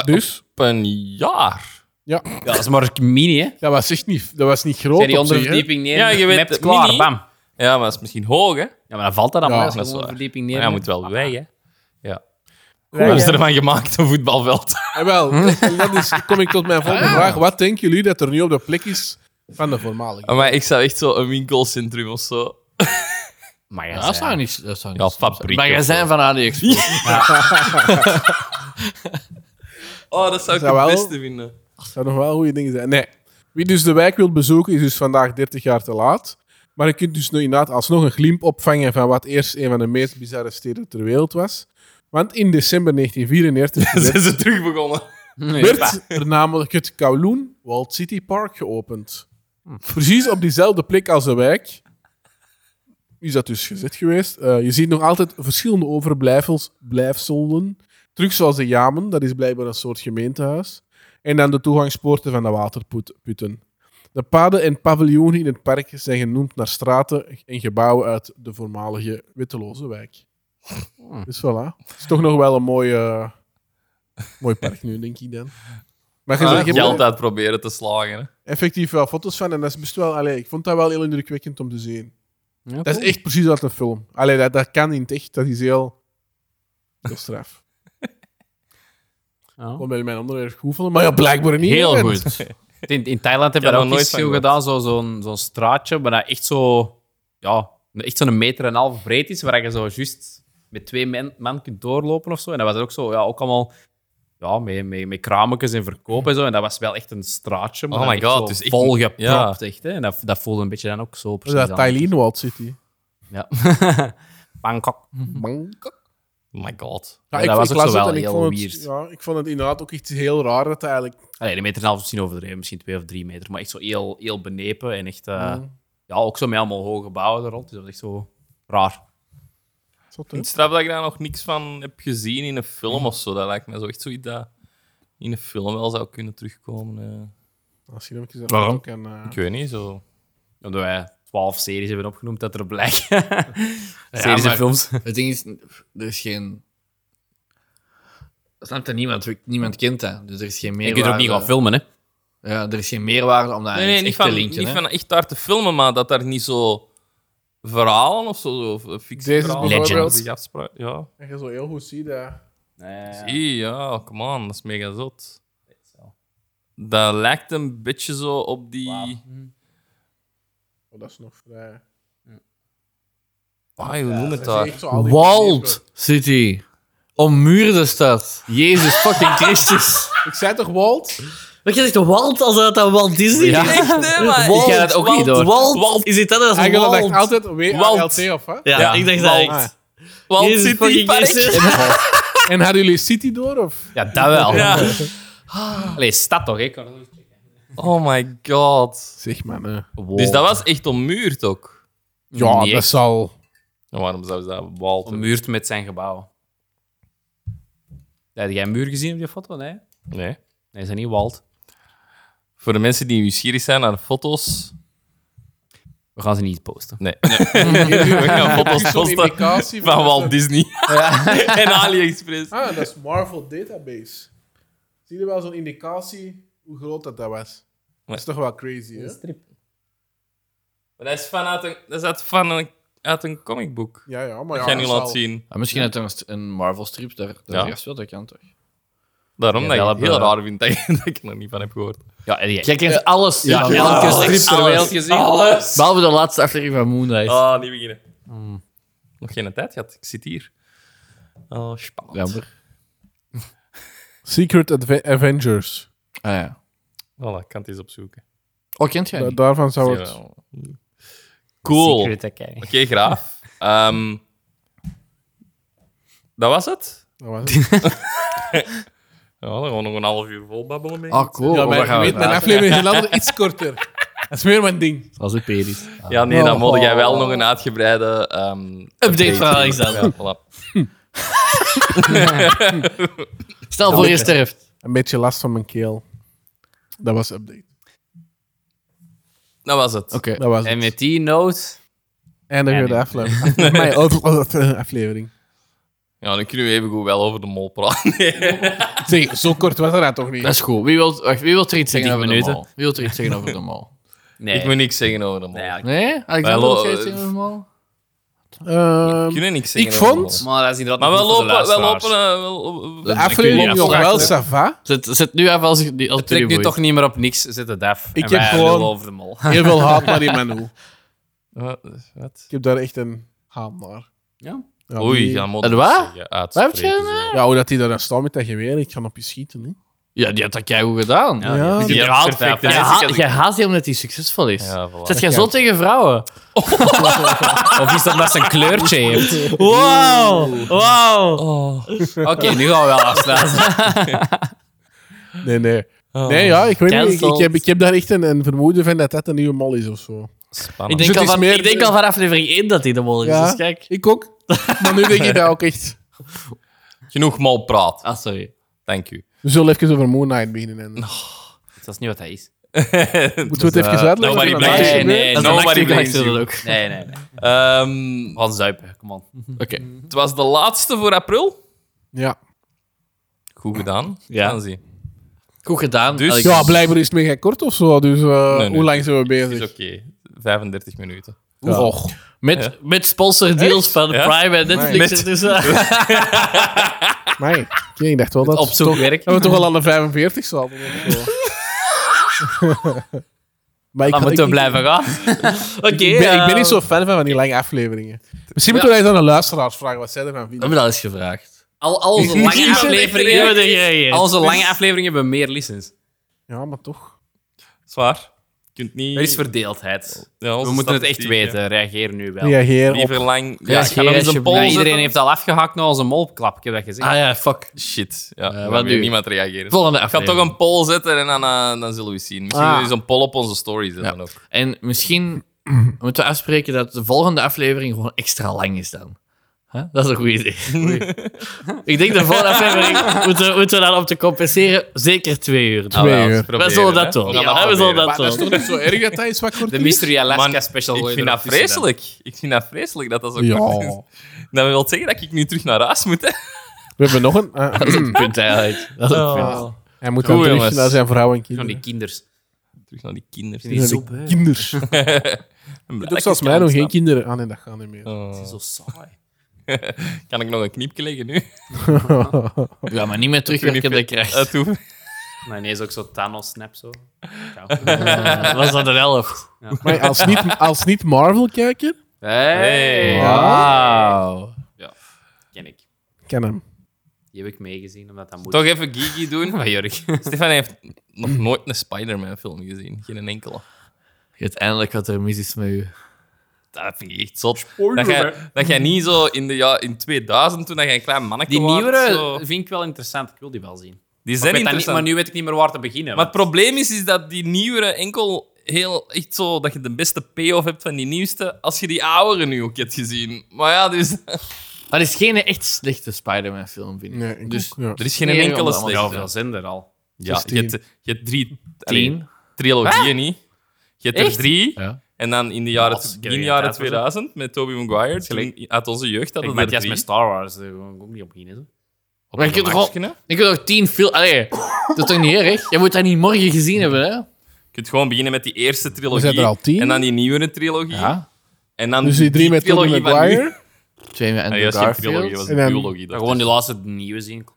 Speaker 3: Dus?
Speaker 1: Op een jaar.
Speaker 3: Ja,
Speaker 4: Ja, dat is maar een mini, hè?
Speaker 3: dat was echt niet, dat was niet groot.
Speaker 4: Zijn die
Speaker 3: op zich, hè.
Speaker 4: onderverdieping neer?
Speaker 1: Ja, je weet
Speaker 4: mapt
Speaker 1: het,
Speaker 4: klaar,
Speaker 1: mini.
Speaker 4: bam.
Speaker 1: Ja, maar dat is misschien hoog, hè?
Speaker 4: Ja, maar dan valt dat dan
Speaker 3: Ja,
Speaker 4: wel.
Speaker 3: dat
Speaker 4: Als
Speaker 1: is
Speaker 4: je
Speaker 1: waar.
Speaker 4: onderverdieping
Speaker 1: Maar
Speaker 4: neer
Speaker 1: ja, moet wel weg, hè? Ja. Hoe
Speaker 3: Wij-
Speaker 1: is er van gemaakt, een voetbalveld?
Speaker 3: Eh, wel, en dat is, kom ik tot mijn volgende
Speaker 4: Ah.
Speaker 3: vraag. Wat denken jullie dat er nu op de plek is van de voormalige?
Speaker 1: Maar ik zou echt zo een winkelcentrum of zo.
Speaker 4: Maar ja,
Speaker 2: Dat zou niet. Dat zou niet
Speaker 1: Ja, fabriek.
Speaker 2: maar
Speaker 1: of
Speaker 2: jij
Speaker 1: zo.
Speaker 2: zijn van AliExpress.
Speaker 1: Oh, dat zou ik
Speaker 3: Zou
Speaker 1: het
Speaker 3: wel-
Speaker 1: beste vinden.
Speaker 3: Dat zou nog wel goede dingen zijn. Nee. Wie dus de wijk wil bezoeken, is dus vandaag 30 jaar te laat. Maar je kunt dus nu inderdaad alsnog een glimp opvangen van wat eerst een van de meest bizarre steden ter wereld was. Want in december 1934
Speaker 1: Ze
Speaker 3: werd,
Speaker 1: zijn ze terug begonnen.
Speaker 3: werd er namelijk het Kowloon Walled City Park geopend. Precies op diezelfde plek als de wijk is dat dus gezet geweest. Eh, je ziet nog altijd verschillende overblijfsels blijfselen. Terug zoals de Jamen, dat is blijkbaar een soort gemeentehuis. En dan de toegangspoorten van de waterputten. De paden en paviljoenen in het park zijn genoemd naar straten en gebouwen uit de voormalige Witteloze wijk. Dus voilà. Het is toch nog wel een mooi, eh, mooi park nu, denk ik dan. Maar je,
Speaker 1: Ah,
Speaker 3: zegt, je hebt
Speaker 1: geld
Speaker 3: er
Speaker 1: uit proberen te slagen. Hè.
Speaker 3: effectief wel foto's van en dat is best wel, allee, ik vond dat wel heel indrukwekkend om te zien.
Speaker 4: Ja,
Speaker 3: Dat is echt precies uit een film. Allee, dat, dat kan niet echt. Dat is heel... heel straf.
Speaker 4: Ja.
Speaker 3: Kom bij mijn andere erg goed vonden, maar ja, blijkbaar niet.
Speaker 4: Heel
Speaker 3: hè.
Speaker 4: goed. In, in Thailand hebben
Speaker 1: Ja,
Speaker 4: we
Speaker 1: daar
Speaker 4: dat ook
Speaker 1: nooit
Speaker 4: eens
Speaker 1: van
Speaker 4: veel
Speaker 1: gehoord.
Speaker 4: gedaan, zo- zo'n zo'n straatje, maar dat echt zo... Ja, echt zo'n meter en een half breed is, waar je zo juist met twee men, man kunt doorlopen of zo. En dat was ook zo, ja, ook allemaal... Ja, met, met, met krametjes en verkoop en zo. En dat was wel echt een straatje, maar
Speaker 1: Oh
Speaker 4: dan
Speaker 1: my
Speaker 4: Ah, echt
Speaker 1: God,
Speaker 4: zo
Speaker 1: dus echt-
Speaker 4: volgepropt, echt. Hè? En dat, dat voelde een beetje dan ook zo
Speaker 3: Dat
Speaker 4: precies
Speaker 3: is
Speaker 4: aan.
Speaker 3: dat Thailand Walled City.
Speaker 4: Ja. Bangkok.
Speaker 3: Bangkok.
Speaker 1: Oh my god.
Speaker 3: Ja,
Speaker 4: Ja,
Speaker 3: ik,
Speaker 4: dat was
Speaker 3: ik
Speaker 4: ook
Speaker 3: las
Speaker 4: zo
Speaker 3: het
Speaker 4: wel
Speaker 3: en ik
Speaker 4: heel
Speaker 3: vond het,
Speaker 4: weird.
Speaker 3: ja, ik vond het inderdaad ook iets heel raar dat hij eigenlijk...
Speaker 4: Allee, een meter en een half is misschien overdreven, misschien twee of drie meter. Maar echt zo heel, heel benepen en echt... eh,
Speaker 2: Mm.
Speaker 4: Ja, ook zo met allemaal hoge gebouwen er rond. Dus dat was echt zo raar.
Speaker 3: Zot, hè?
Speaker 1: Het straf dat ik daar nog niks van heb gezien in een film of zo. Dat lijkt me zo echt zoiets dat in een film wel zou kunnen terugkomen. eh.
Speaker 3: Als je hem even
Speaker 4: Waarom?
Speaker 3: ook en, eh,
Speaker 1: Ik weet niet, zo.
Speaker 4: Omdat wij twaalf series hebben opgenoemd, dat er blijkt.
Speaker 2: Ja,
Speaker 4: series
Speaker 2: maar-
Speaker 4: en films.
Speaker 2: Het ding is, er is geen. Dat snapt dat niemand. Niemand kent dat. Dus er is geen
Speaker 4: Je
Speaker 2: meerwaarde.
Speaker 4: kunt er ook niet gaan filmen, hè?
Speaker 2: Ja, er is geen meerwaarde om daar
Speaker 1: Nee, nee,
Speaker 2: Ah, iets
Speaker 1: niet,
Speaker 2: echt
Speaker 1: van,
Speaker 2: te linken.
Speaker 1: niet
Speaker 2: hè.
Speaker 1: van echt daar te filmen, maar dat daar niet zo verhalen of zo, of
Speaker 3: Deze is
Speaker 1: fictieverhalen
Speaker 3: bijvoorbeeld...
Speaker 1: zich afspra- Ja.
Speaker 3: En je zo heel goed ziet dat...
Speaker 1: Zie, ja, come on, dat is mega zot. Dat lijkt een beetje zo op die...
Speaker 3: Oh, dat is nog vrij...
Speaker 1: Ah, hoe noem het
Speaker 3: Dat is
Speaker 1: daar?
Speaker 3: echt zo al die
Speaker 2: Walled City. Ommuurde stad. Jezus fucking Christus.
Speaker 3: Ik zei toch Walled?
Speaker 5: Wat je zegt, Walt, als dat dan Walt Disney
Speaker 4: Ja.
Speaker 5: is?
Speaker 1: Echt, hè, maar-
Speaker 5: Walt,
Speaker 4: Ik ga dat ook
Speaker 5: Walt,
Speaker 4: niet door.
Speaker 5: Walt, is het dat als
Speaker 3: Eigenlijk dacht ik
Speaker 5: Walt?
Speaker 3: altijd W-A-L-T of hè?
Speaker 5: Ja,
Speaker 1: Ja,
Speaker 5: ik dacht dat
Speaker 3: Walt.
Speaker 5: echt.
Speaker 1: Walt
Speaker 5: Jezus
Speaker 1: City
Speaker 5: fucking
Speaker 1: Park.
Speaker 3: Oh,
Speaker 5: Christus.
Speaker 3: En hadden jullie City door? Of?
Speaker 4: Ja, dat wel.
Speaker 1: Ja.
Speaker 4: Allee, stad toch, hè?
Speaker 1: Oh my god.
Speaker 3: Zeg maar, nee.
Speaker 1: Dus dat was echt ommuurd ook.
Speaker 3: Ja,
Speaker 4: Nee.
Speaker 3: dat zal...
Speaker 1: En waarom zou ze dat Walt...
Speaker 4: Ommuurd met zijn gebouwen. Heb jij een muur gezien op die foto? Nee?
Speaker 1: Nee.
Speaker 4: Nee, is dat niet Walt?
Speaker 1: Voor de mensen die nieuwsgierig zijn naar de foto's...
Speaker 4: We gaan ze niet posten.
Speaker 1: Nee. We gaan foto's
Speaker 3: Zo'n
Speaker 1: posten
Speaker 3: indicatie
Speaker 1: van
Speaker 3: dat
Speaker 1: Walt
Speaker 3: ze-
Speaker 1: Disney. en AliExpress.
Speaker 3: Ah, dat is Marvel Database. Zie je wel zo'n indicatie hoe groot dat, dat was? Dat is toch wel crazy, hè?
Speaker 1: Maar dat is vanuit een, dat is uit, van een, uit een comicboek.
Speaker 3: Ja, ja, maar ja.
Speaker 1: Ga je nu
Speaker 3: dat
Speaker 1: laten
Speaker 3: zal-
Speaker 1: zien.
Speaker 2: Maar misschien uit een, een Marvel-strip, daar, daar
Speaker 1: Ja.
Speaker 2: is wel, dat kan toch?
Speaker 1: Daarom
Speaker 4: Ja,
Speaker 1: dat ik
Speaker 4: dat
Speaker 1: het heel
Speaker 4: hebben we-
Speaker 1: raar vind dat, je- dat ik er nog niet van heb gehoord.
Speaker 4: Ja, en jij-
Speaker 2: Jij
Speaker 3: Eh,
Speaker 2: kent alles. Ja,
Speaker 4: Ja,
Speaker 2: elke
Speaker 4: alles,
Speaker 2: strip ter
Speaker 4: alles,
Speaker 2: wereld gezien.
Speaker 4: alles.
Speaker 2: Behalve de laatste aflevering van Moonlight.
Speaker 1: Ah, niet beginnen. Nog geen tijd gehad. Ik zit hier. Oh, spannend.
Speaker 2: Jammer.
Speaker 3: Secret Adve- Avengers.
Speaker 2: Ah, ja.
Speaker 1: Voilà, ik kan het eens opzoeken.
Speaker 2: Oh, kent jij
Speaker 3: Da-
Speaker 2: niet?
Speaker 3: daarvan zou het...
Speaker 1: Jawel. Cool. Oké,
Speaker 4: Secret Academy.
Speaker 1: graaf. Ehm, dat was het?
Speaker 3: Dat was het.
Speaker 1: Ja, dan gaan we nog een half uur vol babbelen mee.
Speaker 2: Ah, cool.
Speaker 3: Ja,
Speaker 2: Oh, waar
Speaker 3: maar je
Speaker 2: gaan we
Speaker 3: weet, mijn
Speaker 2: praten?
Speaker 3: aflevering is een andere iets korter. Dat is meer mijn ding.
Speaker 2: Dat is ook perisch.
Speaker 1: Ja, nee, dan
Speaker 3: Oh.
Speaker 1: moet jij wel nog een uitgebreide... ehm,
Speaker 2: Update van Alexander.
Speaker 1: Ja, voilà.
Speaker 2: Stel voor je sterft.
Speaker 3: Een beetje last van mijn keel. Dat was update.
Speaker 1: Dat was het.
Speaker 2: Oké.
Speaker 3: Dat was
Speaker 4: En
Speaker 3: het.
Speaker 4: met die noot...
Speaker 3: En dan weer de aflevering. Mijn oude aflevering.
Speaker 1: Ja, dan kunnen we even goed wel over de mol praten.
Speaker 3: Zeg, zo kort was dat dan toch niet?
Speaker 2: Dat is goed. Wie wil, wacht, wie wil er iets zeggen
Speaker 4: 20
Speaker 2: over de
Speaker 4: minuten.
Speaker 2: mol? Wie wil er iets zeggen over de mol?
Speaker 4: Nee.
Speaker 1: Ik moet niks zeggen over de mol.
Speaker 4: Nee,
Speaker 2: Nee? Alexander
Speaker 1: Hallo,
Speaker 2: wil jij iets
Speaker 1: eh,
Speaker 2: zeggen over de mol?
Speaker 1: We
Speaker 3: Ehm,
Speaker 1: kunnen niks zeggen
Speaker 3: Ik
Speaker 1: over de
Speaker 3: vond-
Speaker 1: mol.
Speaker 4: Maar dat is inderdaad
Speaker 1: Maar
Speaker 4: nog
Speaker 1: we
Speaker 4: goed
Speaker 1: lopen... We lopen
Speaker 4: voor de luisteraars.
Speaker 1: eh, wel-
Speaker 3: de
Speaker 1: wel-
Speaker 2: Dat is een
Speaker 3: aflevering
Speaker 2: goeie
Speaker 3: nog wel
Speaker 2: afspraak,
Speaker 3: sava.
Speaker 2: Zet, zet nu even als, die- als
Speaker 4: Het trekt nu toch niet meer op niks, zit het af.
Speaker 3: Ik heb
Speaker 4: En wij
Speaker 3: gewoon-
Speaker 4: lullen over de mol.
Speaker 3: Heel veel haat naar die man hoe.
Speaker 1: Wat? Wat?
Speaker 3: Ik heb daar echt een haan naar.
Speaker 4: Ja?
Speaker 3: Ja,
Speaker 1: Oei,
Speaker 3: die-
Speaker 1: ja, moet
Speaker 2: En
Speaker 1: ik
Speaker 2: wat?
Speaker 1: zeggen, uitspreken,
Speaker 2: Wat heb je
Speaker 1: zo.
Speaker 2: nou?
Speaker 3: Ja, hoe dat hij daar staat met dat geweer, ik ga op je schieten. Hè.
Speaker 2: Ja, die had dat goed gedaan.
Speaker 3: Ja, ja.
Speaker 4: die
Speaker 1: Ja,
Speaker 4: haalt
Speaker 1: perfect,
Speaker 4: perfect,
Speaker 1: ja.
Speaker 2: Jij,
Speaker 4: ja.
Speaker 2: ha- jij haat die omdat hij succesvol is.
Speaker 1: Ja, voilà.
Speaker 2: Zet jij zo tegen vrouwen?
Speaker 4: Of is dat omdat ze een kleurtje heeft?
Speaker 2: Wow! Wow!
Speaker 4: Oké, nu gaan we wel afsluiten.
Speaker 3: Nee, nee. Nee, ja, ik weet niet. Ik, ik,
Speaker 2: Cancelled.
Speaker 3: heb, ik heb daar echt een, een vermoeden van dat dat een nieuwe mol is of zo.
Speaker 1: Spannend.
Speaker 2: Ik
Speaker 3: Dus
Speaker 2: denk, al
Speaker 3: het is
Speaker 2: van,
Speaker 3: meer-
Speaker 2: ik denk al van aflevering 1 dat hij de mol is.
Speaker 3: Ja.
Speaker 2: Dus kijk.
Speaker 3: Ik ook. Maar nu denk ik dat ook echt.
Speaker 1: Genoeg mal praat.
Speaker 2: Ah, sorry.
Speaker 1: Thank you.
Speaker 3: We zullen even over Moon Knight beginnen. En...
Speaker 4: Dat is niet wat hij is.
Speaker 3: Moeten we het even
Speaker 1: Eh,
Speaker 3: uitleggen?
Speaker 1: nobody
Speaker 3: wat er
Speaker 1: blames
Speaker 3: aan
Speaker 1: you.
Speaker 3: de hand is?
Speaker 1: nee,
Speaker 2: dat is een
Speaker 1: nobody
Speaker 2: actieve
Speaker 1: blames
Speaker 2: acteur
Speaker 1: you.
Speaker 2: ook.
Speaker 4: Nee, nee, nee.
Speaker 1: Ehm,
Speaker 4: Van zuipen, come on.
Speaker 1: Oké. Het was de laatste voor april.
Speaker 3: Ja.
Speaker 1: Goed gedaan.
Speaker 4: Ja.
Speaker 1: Gaan zien.
Speaker 2: Goed gedaan.
Speaker 1: Dus-
Speaker 2: Allee,
Speaker 3: ja, blijkbaar is het mega kort of zo. Dus eh,
Speaker 1: nee.
Speaker 3: hoe lang zijn we bezig?
Speaker 1: Is oké. 35 minuten.
Speaker 3: Ja.
Speaker 6: Och.
Speaker 2: Ah, met,
Speaker 1: Ja.
Speaker 2: met sponsordeals van
Speaker 1: Ja?
Speaker 2: Prime en Netflix.
Speaker 1: Met-
Speaker 2: Dus, eh,
Speaker 3: Nee, Oké, ik dacht wel dat,
Speaker 4: Op zoek werk.
Speaker 3: dat we toch al aan de 45 zaten. of zo. maar ik,
Speaker 4: Dan
Speaker 3: had-
Speaker 4: moeten
Speaker 3: ik-
Speaker 4: we blijven gaan.
Speaker 2: Oké.
Speaker 3: ik ben, ik ben
Speaker 2: eh,
Speaker 3: niet zo fan van, van die lange afleveringen. Misschien moeten we eens aan de luisteraars vragen wat zij ervan
Speaker 2: We
Speaker 3: vinden.
Speaker 2: hebben dat eens gevraagd.
Speaker 4: Al, al onze lange
Speaker 2: Ja, maar
Speaker 4: afleveringen...
Speaker 2: dat- ja, ja.
Speaker 4: Al onze lange afleveringen hebben meer listens.
Speaker 3: Ja, maar toch.
Speaker 1: Zwaar. Je kunt niet...
Speaker 4: Er is verdeeldheid.
Speaker 1: Ja, onze
Speaker 4: We moeten het echt
Speaker 1: statistiek,
Speaker 4: weten. Reageer nu wel.
Speaker 3: Reageer op.
Speaker 1: Liever lang... Ja,
Speaker 4: Ja,
Speaker 1: ik ga nog
Speaker 2: reageer
Speaker 1: eens een
Speaker 2: alsjeblieft.
Speaker 1: poll
Speaker 4: Ja,
Speaker 2: Paul
Speaker 1: zetten.
Speaker 4: iedereen heeft al afgehakt naar onze molklap. Ik heb dat gezegd.
Speaker 2: Ah ja, fuck.
Speaker 1: Shit. Ja,
Speaker 2: wat
Speaker 1: wat
Speaker 2: nu?
Speaker 1: niemand reageren.
Speaker 2: Volgende
Speaker 1: Ik ga
Speaker 2: aflevering.
Speaker 1: toch een poll zetten en dan, eh, dan zullen we zien. Misschien
Speaker 3: Ah.
Speaker 1: is een poll op onze stories zetten ook.
Speaker 2: En misschien moeten we afspreken dat de volgende aflevering gewoon extra lang is dan. Huh? Dat is een goed idee. Oei. ik denk de volgende aflevering moeten, we- moeten we dan om te compenseren zeker twee uur. doen.
Speaker 3: Twee
Speaker 1: Ah, wel,
Speaker 3: uur.
Speaker 1: eens proberen,
Speaker 2: We zullen dat
Speaker 1: hè.
Speaker 2: doen.
Speaker 1: gaan
Speaker 2: Ja, we zullen
Speaker 1: proberen.
Speaker 2: dat
Speaker 3: Maar dat is
Speaker 2: doen.
Speaker 3: toch niet zo erg dat hij is wat kort
Speaker 4: De
Speaker 3: is?
Speaker 4: Mystery Alaska
Speaker 1: Man,
Speaker 4: special.
Speaker 1: Ik
Speaker 4: gooi je
Speaker 1: vind dat
Speaker 4: erop tussen dan.
Speaker 1: vreselijk. Ik vind dat vreselijk dat dat zo
Speaker 3: Ja.
Speaker 1: kort is. Dat wil zeggen dat ik nu terug naar huis moet. Hè?
Speaker 3: We hebben nog een. eh,
Speaker 2: Dat is het punt eigenlijk. Dat is het punt.
Speaker 3: hij moet
Speaker 1: Goed,
Speaker 3: dan terug
Speaker 1: jongens.
Speaker 3: naar zijn vrouw en
Speaker 4: Van die
Speaker 3: kinderen.
Speaker 4: kinders.
Speaker 1: Terug naar die kinderen.
Speaker 4: Die
Speaker 3: Ja,
Speaker 4: zo
Speaker 3: die kinders. Ook zoals mij nog geen kinderen aan en dat gaan niet meer.
Speaker 4: Zo saai.
Speaker 1: Kan ik nog een kniepje leggen nu?
Speaker 2: Ja, maar niet meer terugwerkende kracht.
Speaker 1: Dat hoeft.
Speaker 4: Maar ineens ook zo Thanos-snap zo. Ciao.
Speaker 2: Eh, was dat een elf?
Speaker 3: Maar als niet, als niet Marvel kijken,
Speaker 4: Hey.
Speaker 2: Wauw.
Speaker 4: Ken ik.
Speaker 3: ken hem.
Speaker 4: Die heb ik meegezien, omdat dat moet.
Speaker 1: Toch even Gigi doen.
Speaker 4: van Jurk.
Speaker 1: Stefan heeft nog nooit een Spider-Man-film gezien. Geen enkele.
Speaker 2: Uiteindelijk wat er mis is met u.
Speaker 1: Dat vind ik echt zot. Dat jij, dat jij niet zo in, de, ja, in 2000, toen dat jij een klein mannetje
Speaker 4: Die
Speaker 1: was,
Speaker 4: nieuwere
Speaker 1: zo-
Speaker 4: vind ik wel interessant. Ik wil die wel zien.
Speaker 1: Die
Speaker 4: Ik
Speaker 1: zijn
Speaker 4: weet dat niet,
Speaker 1: interessant.
Speaker 4: maar nu weet ik niet meer waar te beginnen.
Speaker 1: Maar
Speaker 4: want-
Speaker 1: het probleem is, is dat die nieuwere enkel heel echt zo dat je de beste payoff hebt van die nieuwste als je die oudere nu ook hebt gezien. Maar ja, dus,
Speaker 2: Maar het is geen echt slechte Spider-Man film, vind ik.
Speaker 3: Nee, ik
Speaker 2: Dus-
Speaker 3: ook, ja.
Speaker 1: er is geen
Speaker 2: Nee,
Speaker 1: enkele
Speaker 2: allemaal
Speaker 1: slechte.
Speaker 4: Ja, veel zijn er al.
Speaker 1: Ja, je hebt, je hebt drie allee,
Speaker 2: Tien.
Speaker 1: trilogieën niet. Je hebt er
Speaker 4: Echt?
Speaker 1: drie.
Speaker 2: Ja.
Speaker 1: En dan in de jaren,
Speaker 4: Wat?
Speaker 1: begin jaren
Speaker 4: Tijd voor
Speaker 1: 2000 met Tobey Maguire,
Speaker 4: gelijk-
Speaker 1: toen, uit onze jeugd
Speaker 4: Ik
Speaker 1: hadden we
Speaker 4: met
Speaker 1: er
Speaker 4: juist
Speaker 1: drie.
Speaker 4: met Star Wars. Daar kon ik ook niet op beginnen. zo.
Speaker 2: Maar je kunt toch wel-
Speaker 1: Maxken, hè?
Speaker 2: je kunt toch tien film... Allee, dat is toch niet erg? Je moet dat niet morgen gezien hebben, hè?
Speaker 1: Je kunt gewoon beginnen met die eerste trilogie.
Speaker 3: zijn er al tien.
Speaker 1: En dan die nieuwere trilogie. En dan
Speaker 3: Dus die drie met Tobey
Speaker 1: trilogie van nu.
Speaker 3: Maguire.
Speaker 2: Twee met
Speaker 1: Ah,
Speaker 2: Andrew
Speaker 1: ja, dat is geen trilogie, dat
Speaker 2: Garfield.
Speaker 1: was
Speaker 3: En
Speaker 1: een
Speaker 3: dan-
Speaker 1: duologie.
Speaker 4: Maar
Speaker 1: Dat
Speaker 4: gewoon die laatste nieuwe zien.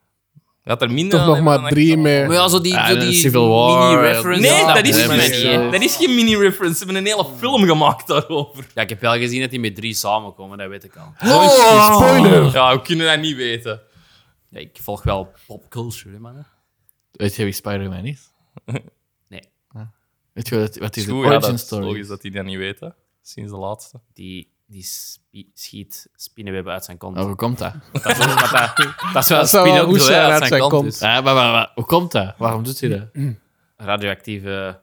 Speaker 1: Je had er minder
Speaker 3: Toch
Speaker 1: aan
Speaker 3: nog
Speaker 1: hebben
Speaker 3: maar
Speaker 1: dan
Speaker 3: drie
Speaker 1: ik-
Speaker 3: met...
Speaker 4: Maar ja, zo die,
Speaker 2: Ah,
Speaker 4: zo
Speaker 2: de
Speaker 4: die
Speaker 2: Civil War,
Speaker 4: mini-reference.
Speaker 1: Nee,
Speaker 2: Ja,
Speaker 1: dat is
Speaker 2: dat
Speaker 1: geen
Speaker 2: hebben ze
Speaker 1: mini.
Speaker 2: wel.
Speaker 1: Dat is geen mini-reference. Ze hebben een hele film gemaakt daarover.
Speaker 4: Ja, ik heb wel gezien dat die met drie samenkomen, dat weet ik al.
Speaker 3: Oh, spoiler!
Speaker 1: Ja, we kunnen dat niet weten.
Speaker 4: Ja, ik volg wel popculture, hè, man.
Speaker 2: Weet je wie Spider-Man is?
Speaker 4: Nee.
Speaker 2: Ah. Weet je wat, wat is
Speaker 1: Is
Speaker 2: de
Speaker 1: goed,
Speaker 2: origin
Speaker 1: ja, dat is
Speaker 2: story?
Speaker 1: logisch dat die dat niet weten. Sinds de laatste.
Speaker 4: Die, die spie- schiet spinnenwebben uit zijn kont.
Speaker 2: Oh, hoe komt dat?
Speaker 4: Dat, is, wat dat, dat is wel een
Speaker 3: zou wel
Speaker 4: spin-off
Speaker 3: goed zijn
Speaker 4: uit
Speaker 3: als
Speaker 4: zijn
Speaker 3: hij
Speaker 4: kont.
Speaker 3: komt.
Speaker 4: is.
Speaker 2: Ah, maar, maar, maar, hoe komt dat? Waarom doet hij dat?
Speaker 4: Radioactieve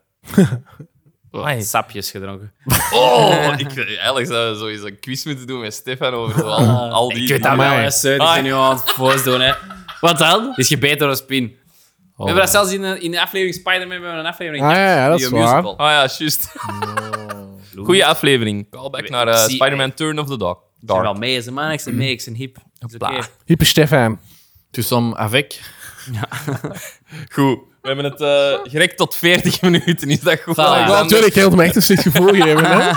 Speaker 1: Amai.
Speaker 4: sapjes gedronken.
Speaker 1: Oh, ik, eigenlijk zouden we sowieso een quiz moeten doen met Stefan over zo al, al die...
Speaker 4: Ik weet dat wel,
Speaker 3: Amai.
Speaker 4: hè, Seur. Ik
Speaker 1: Ah.
Speaker 4: ben nu aan het voordoen, hè.
Speaker 2: Wat dan?
Speaker 4: Die is gebeten door een spin. We hebben dat zelfs in een, in een aflevering Spider-Man hebben we een aflevering.
Speaker 3: Ah, ja, ja, dat
Speaker 4: Die
Speaker 3: is
Speaker 4: een
Speaker 3: waar.
Speaker 4: musical.
Speaker 1: Ah ja, juist. Goeie aflevering. Callback naar eh,
Speaker 4: Zie-
Speaker 1: Spider-man Turn of the Dog.
Speaker 4: Ik ben wel
Speaker 1: Dark.
Speaker 4: mee, is een man. Ik ben mee, ik ben hip. Is oké.
Speaker 1: Hopla.
Speaker 3: Hyper Stefan.
Speaker 2: Dus om avec.
Speaker 1: Goed. We hebben het eh gerekt tot 40 minuten. Is dat goed?
Speaker 4: Ja,
Speaker 3: Ja,
Speaker 1: Alexander?
Speaker 3: natuurlijk, heel me echt een slecht dus gevoel geven. Hè?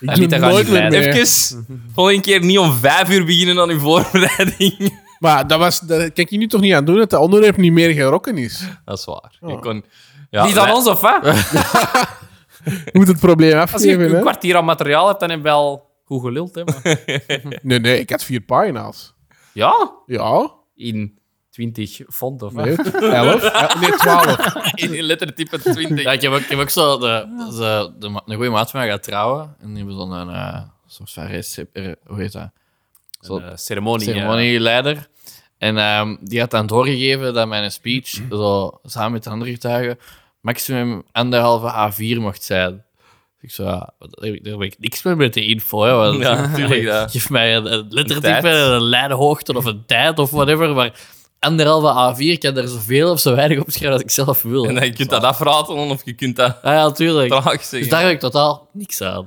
Speaker 3: Ik doe
Speaker 4: niet, dat gaat
Speaker 3: nooit
Speaker 4: niet
Speaker 3: meer
Speaker 4: blijven.
Speaker 3: mee.
Speaker 1: Even, volgende keer niet om vijf uur beginnen aan uw voorbereiding.
Speaker 3: Maar dat was, dat kan je nu toch niet aan doen dat dat onderwerp niet meer gerokken is?
Speaker 1: Dat is waar. Ik kon, ja,
Speaker 4: Niet aan
Speaker 1: wij-
Speaker 4: ons, of wat?
Speaker 3: Je moet het probleem
Speaker 4: Als je
Speaker 3: afgeven.
Speaker 4: een
Speaker 3: Hè?
Speaker 4: kwartier aan materiaal hebt, dan heb je wel goed geluld, hè. maar-
Speaker 3: Nee, nee, ik had vier pagina's.
Speaker 4: Ja,
Speaker 3: Ja,
Speaker 4: in 20 font, of wat?
Speaker 3: nee, elf. Ja, nee, twaalf.
Speaker 1: in lettertype 20.
Speaker 2: Ja, ik, heb ook, ik heb ook zo... De, de, de, ma- een goede maat van mij gaat trouwen. En die hebben dan een eh, soort van recep... eh, Hoe heet dat?
Speaker 4: Een, eh, ceremonie.
Speaker 2: Ceremonieleider. En ehm, die had dan doorgegeven dat mijn speech, zo, samen met de andere getuigen, maximum anderhalve A4 mocht zijn. Ik zo, ja, wat- daar daar weet ik niks meer met die info. Hè, want-
Speaker 1: Ja, natuurlijk, ja.
Speaker 2: Geef mij een, een lettertype,
Speaker 1: Een tijd.
Speaker 2: een, lijnhoogte of een tijd of whatever. Maar anderhalve A4 kan er zoveel of zo weinig op schrijven als ik zelf wil.
Speaker 1: En
Speaker 2: hè.
Speaker 1: dan, je kunt dat afratelen of je kunt dat
Speaker 2: Ah, Ja, ja, natuurlijk.
Speaker 1: traag
Speaker 2: Dus
Speaker 1: zeggen.
Speaker 2: daar heb ik totaal niks aan.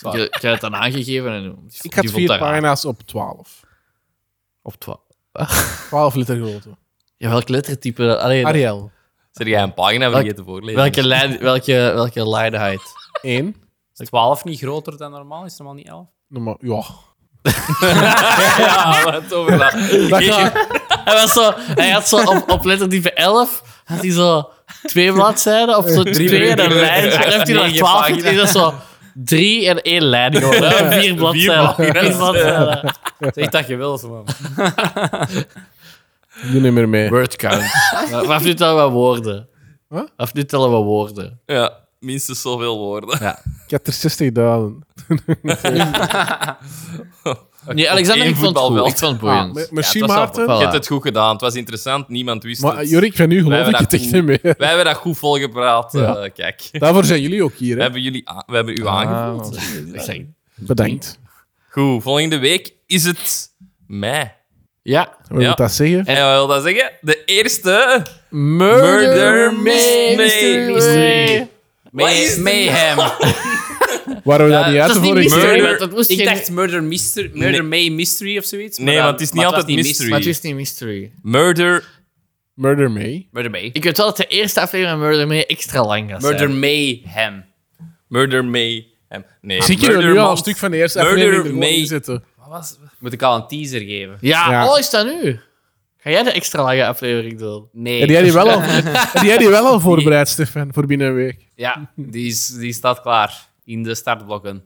Speaker 2: Ik, ik heb het dan aangegeven en die-
Speaker 3: Ik had
Speaker 2: die vond
Speaker 3: vier
Speaker 2: dat raar.
Speaker 3: pagina's op 12.
Speaker 2: Op twa-
Speaker 3: 12 liter grootte.
Speaker 2: ja, welk lettertype? Allee,
Speaker 3: Ariel.
Speaker 1: Zeg jij een pagina
Speaker 2: Welk-
Speaker 1: vergeten voorlezen?
Speaker 2: welke, lijn, welke, welke line height?
Speaker 3: 1.
Speaker 4: 12 niet groter dan normaal? Is het normaal niet 11?
Speaker 3: Nummer, ja.
Speaker 1: Ja, Ah, wat over dat.
Speaker 3: Dat gaat-
Speaker 2: Hij, was zo, hij had zo op, op lettertype 11 had hij zo twee bladzijden of zo twee
Speaker 1: drie,
Speaker 2: en een lijn.
Speaker 1: drie,
Speaker 2: Dan heeft hij
Speaker 1: negen
Speaker 2: naar 12
Speaker 1: pagina's.
Speaker 2: en is dat zo drie en één lijn gewoon. hè. Vier bladzijden. Vier bladzijden.
Speaker 4: Zeg dat je wilt, man.
Speaker 3: Doe niet meer mee.
Speaker 2: Word count. Maar vanaf nu tellen we woorden.
Speaker 3: Huh?
Speaker 2: Vanaf nu tellen we woorden.
Speaker 1: Ja, minstens zoveel woorden.
Speaker 3: Ik had er Ah, 60.000.
Speaker 2: Nee, Alexander,
Speaker 1: één
Speaker 2: ik vond het
Speaker 1: voetbal
Speaker 2: goed.
Speaker 1: wel.
Speaker 2: Ik vond het
Speaker 3: Ah,
Speaker 2: boeiend.
Speaker 3: me- merci,
Speaker 2: Ja, het was wel-
Speaker 3: Maarten.
Speaker 2: voilà.
Speaker 1: Je hebt het goed gedaan. Het was interessant. Niemand wist
Speaker 3: Maar eh,
Speaker 1: het.
Speaker 3: Jorik, van nu
Speaker 1: Wij
Speaker 3: geloof ik
Speaker 1: hebben
Speaker 3: het
Speaker 1: dat
Speaker 3: echt niet meer.
Speaker 1: Wij hebben dat goed volgepraat.
Speaker 3: Ja.
Speaker 1: eh, kijk,
Speaker 3: Daarvoor zijn jullie ook hier,
Speaker 1: we
Speaker 3: hè?
Speaker 1: hebben, jullie a- we hebben u
Speaker 4: Ah.
Speaker 1: aangevuld.
Speaker 2: Ik zeg,
Speaker 3: Bedankt.
Speaker 1: Goed, volgende week is het mei.
Speaker 2: Ja.
Speaker 3: Wil je
Speaker 1: Ja.
Speaker 3: dat zeggen?
Speaker 1: En wat wil dat zeggen? De eerste
Speaker 2: Murder,
Speaker 1: Mystery.
Speaker 2: mystery.
Speaker 1: Wat is dit?
Speaker 4: mayhem.
Speaker 3: Waren we daar niet uit
Speaker 2: Dat
Speaker 3: de
Speaker 2: is niet
Speaker 3: vorige
Speaker 2: mystery,
Speaker 1: Murder-
Speaker 2: want dat moest
Speaker 4: Ik
Speaker 2: geen-
Speaker 4: dacht murder, mystery, murder
Speaker 1: Nee.
Speaker 4: may mystery of zoiets.
Speaker 1: Nee,
Speaker 4: dan-
Speaker 1: want het is niet
Speaker 4: maar was
Speaker 1: altijd mystery.
Speaker 2: Maar het is niet mystery.
Speaker 1: Murder
Speaker 3: Murder May.
Speaker 4: Murder may.
Speaker 2: Ik weet wel dat de eerste aflevering van Murder May extra lang gaat
Speaker 4: Murder
Speaker 2: zijn.
Speaker 4: mayhem.
Speaker 1: Murder May. eh, Nee,
Speaker 3: Zie ik hier
Speaker 1: Murder
Speaker 3: nu al een
Speaker 1: Month.
Speaker 3: stuk van de eerste
Speaker 1: Murder
Speaker 3: aflevering er gewoon
Speaker 1: May.
Speaker 3: in zitten?
Speaker 4: Moet ik al een teaser geven?
Speaker 2: Ja,
Speaker 3: Ja.
Speaker 2: oh, is dat nu? Ga jij de extra lange aflevering doen?
Speaker 4: Nee.
Speaker 3: Heb jij die wel al, heb jij die wel al voorbereid, Stefan, voor binnen een week?
Speaker 4: Ja, die, is, die staat klaar in de startblokken.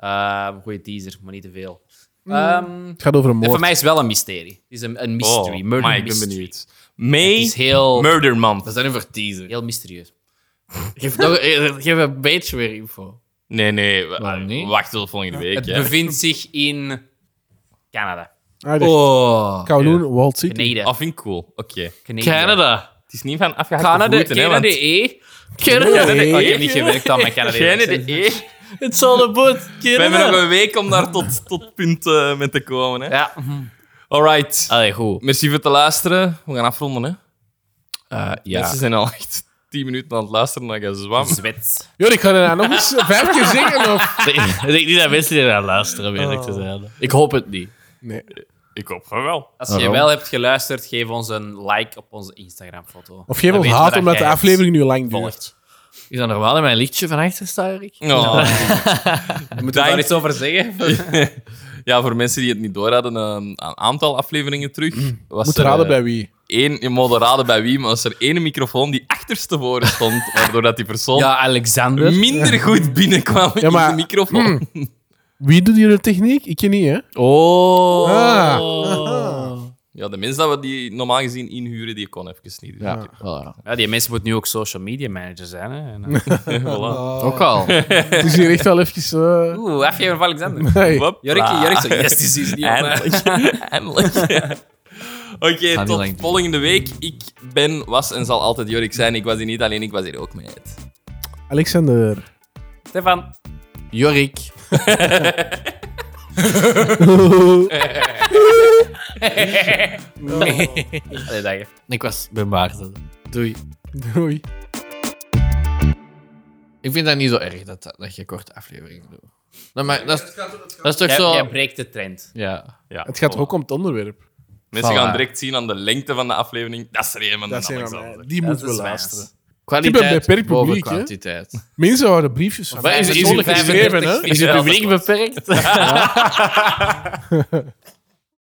Speaker 4: Ehm goeie teaser, maar niet te veel. Ehm,
Speaker 3: Het gaat over een
Speaker 4: en voor
Speaker 3: moord.
Speaker 4: mij is het wel een mysterie. Het is een, een mystery.
Speaker 1: Oh,
Speaker 4: murder
Speaker 1: maar ik ben
Speaker 4: mystery.
Speaker 1: benieuwd.
Speaker 4: Het
Speaker 1: May
Speaker 4: is heel,
Speaker 1: Murder Month.
Speaker 2: zijn nu voor teaser.
Speaker 4: heel mysterieus.
Speaker 2: Geef, nog, eh, geef een beetje meer info.
Speaker 1: Nee, nee. wa-
Speaker 2: Waarom niet?
Speaker 1: Wacht tot volgende week.
Speaker 4: Het
Speaker 1: hè.
Speaker 4: bevindt zich in Canada.
Speaker 3: Ah, dit-
Speaker 2: Oh.
Speaker 3: Kowloon, Walt City.
Speaker 4: Beneden.
Speaker 1: Ah, vind ik cool. Oké.
Speaker 2: Canada.
Speaker 1: Het is niet van
Speaker 4: ah,
Speaker 1: afgehaakte
Speaker 4: Canada,
Speaker 1: voeten, hè,
Speaker 4: Canada,
Speaker 1: want-
Speaker 4: E.
Speaker 2: Canada.
Speaker 3: Nee.
Speaker 4: Oh, ik heb niet gewerkt aan mijn Canada.
Speaker 1: Geen idee.
Speaker 2: It's all about
Speaker 1: We hebben nog
Speaker 2: Canada.
Speaker 1: een week om daar tot, tot punt eh, mee te komen. Hè.
Speaker 4: Ja.
Speaker 1: Alright.
Speaker 2: Allee, goed.
Speaker 1: Merci voor het luisteren. We gaan afronden. Hè.
Speaker 2: ja.
Speaker 1: Mensen zijn al echt 10 minuten aan het luisteren naar je zwam.
Speaker 4: Zwet.
Speaker 3: Jorik, ga je dat nog eens vijf keer zingen? Of?
Speaker 2: ik denk niet dat mensen die naar luisteren, om eerlijk te zijn. Ik hoop het niet.
Speaker 3: Nee.
Speaker 1: Ik hoop van wel.
Speaker 4: Als je wel hebt geluisterd, geef ons een like op onze Instagram-foto.
Speaker 3: Of geef
Speaker 4: Dan
Speaker 3: ons
Speaker 4: weten we
Speaker 3: haat
Speaker 4: dat
Speaker 3: omdat de
Speaker 4: jij het
Speaker 3: aflevering nu lang duurt.
Speaker 4: volgt.
Speaker 2: Is dat normaal dat mijn lichtje van achter staat, Erik?
Speaker 1: Oh.
Speaker 4: Moeten we daar iets over zeggen?
Speaker 1: ja, voor mensen die het niet door hadden, eh, een aantal afleveringen terug. Was
Speaker 3: Moet
Speaker 1: er,
Speaker 3: raden
Speaker 1: eh,
Speaker 3: bij wie.
Speaker 1: één, je moet raden bij wie, maar was er één microfoon die achterstevoren stond, waardoor dat die persoon
Speaker 4: Ja, Alexander.
Speaker 1: minder goed binnenkwam
Speaker 3: Ja, maar-
Speaker 1: in de microfoon.
Speaker 3: Wie doet hier de techniek? Ik ken niet, hè?
Speaker 2: Oh.
Speaker 3: Ah.
Speaker 1: Ja, de mensen dat we die normaal gezien inhuren, die kon even niet. Dus
Speaker 2: Ja, voilà.
Speaker 4: Ja, die mensen moeten nu ook social media manager zijn. Hè? En, eh, voilà.
Speaker 2: ook al.
Speaker 3: Het is hier echt wel eventjes... eh,
Speaker 4: Oeh, afgeven van Alexander.
Speaker 3: hey.
Speaker 1: Hop.
Speaker 4: Jorik,
Speaker 1: Ah.
Speaker 4: Jorik, zo, yes, die is niet op mij.
Speaker 1: Eindelijk. Eindelijk. Oké,
Speaker 2: niet
Speaker 1: tot
Speaker 2: lang duren.
Speaker 1: volgende week. Ik ben, was en zal altijd Jorik zijn. Ik was hier niet alleen, ik was hier ook mee.
Speaker 3: Alexander.
Speaker 4: Stefan.
Speaker 2: Jorik.
Speaker 4: Allee, dag. hè.
Speaker 2: Ik was bij Maarten. Doei.
Speaker 3: Doei.
Speaker 2: Ik vind dat niet zo erg dat, dat je korte afleveringen doet. Dat, maar, dat, is, dat is toch
Speaker 4: Jij,
Speaker 2: zo.
Speaker 4: jij breekt de trend.
Speaker 2: Ja.
Speaker 1: Ja.
Speaker 3: Het gaat ook om het onderwerp.
Speaker 1: Mensen gaan
Speaker 2: Voilà.
Speaker 1: direct zien aan de lengte van de aflevering. Dat is er een van de
Speaker 3: Dat zijn we
Speaker 1: Alexander.
Speaker 3: aan mij. Die moeten we
Speaker 4: is waar.
Speaker 3: luisteren.
Speaker 2: Kwaliteit
Speaker 3: Ik ben beperkt
Speaker 2: boven
Speaker 3: publiek, hè?
Speaker 2: kwantiteit.
Speaker 3: Mensen houden briefjes van.
Speaker 2: Maar is- is-
Speaker 3: Persoonlijk
Speaker 2: is-
Speaker 3: geschreven, hè?
Speaker 2: Is het publiek beperkt?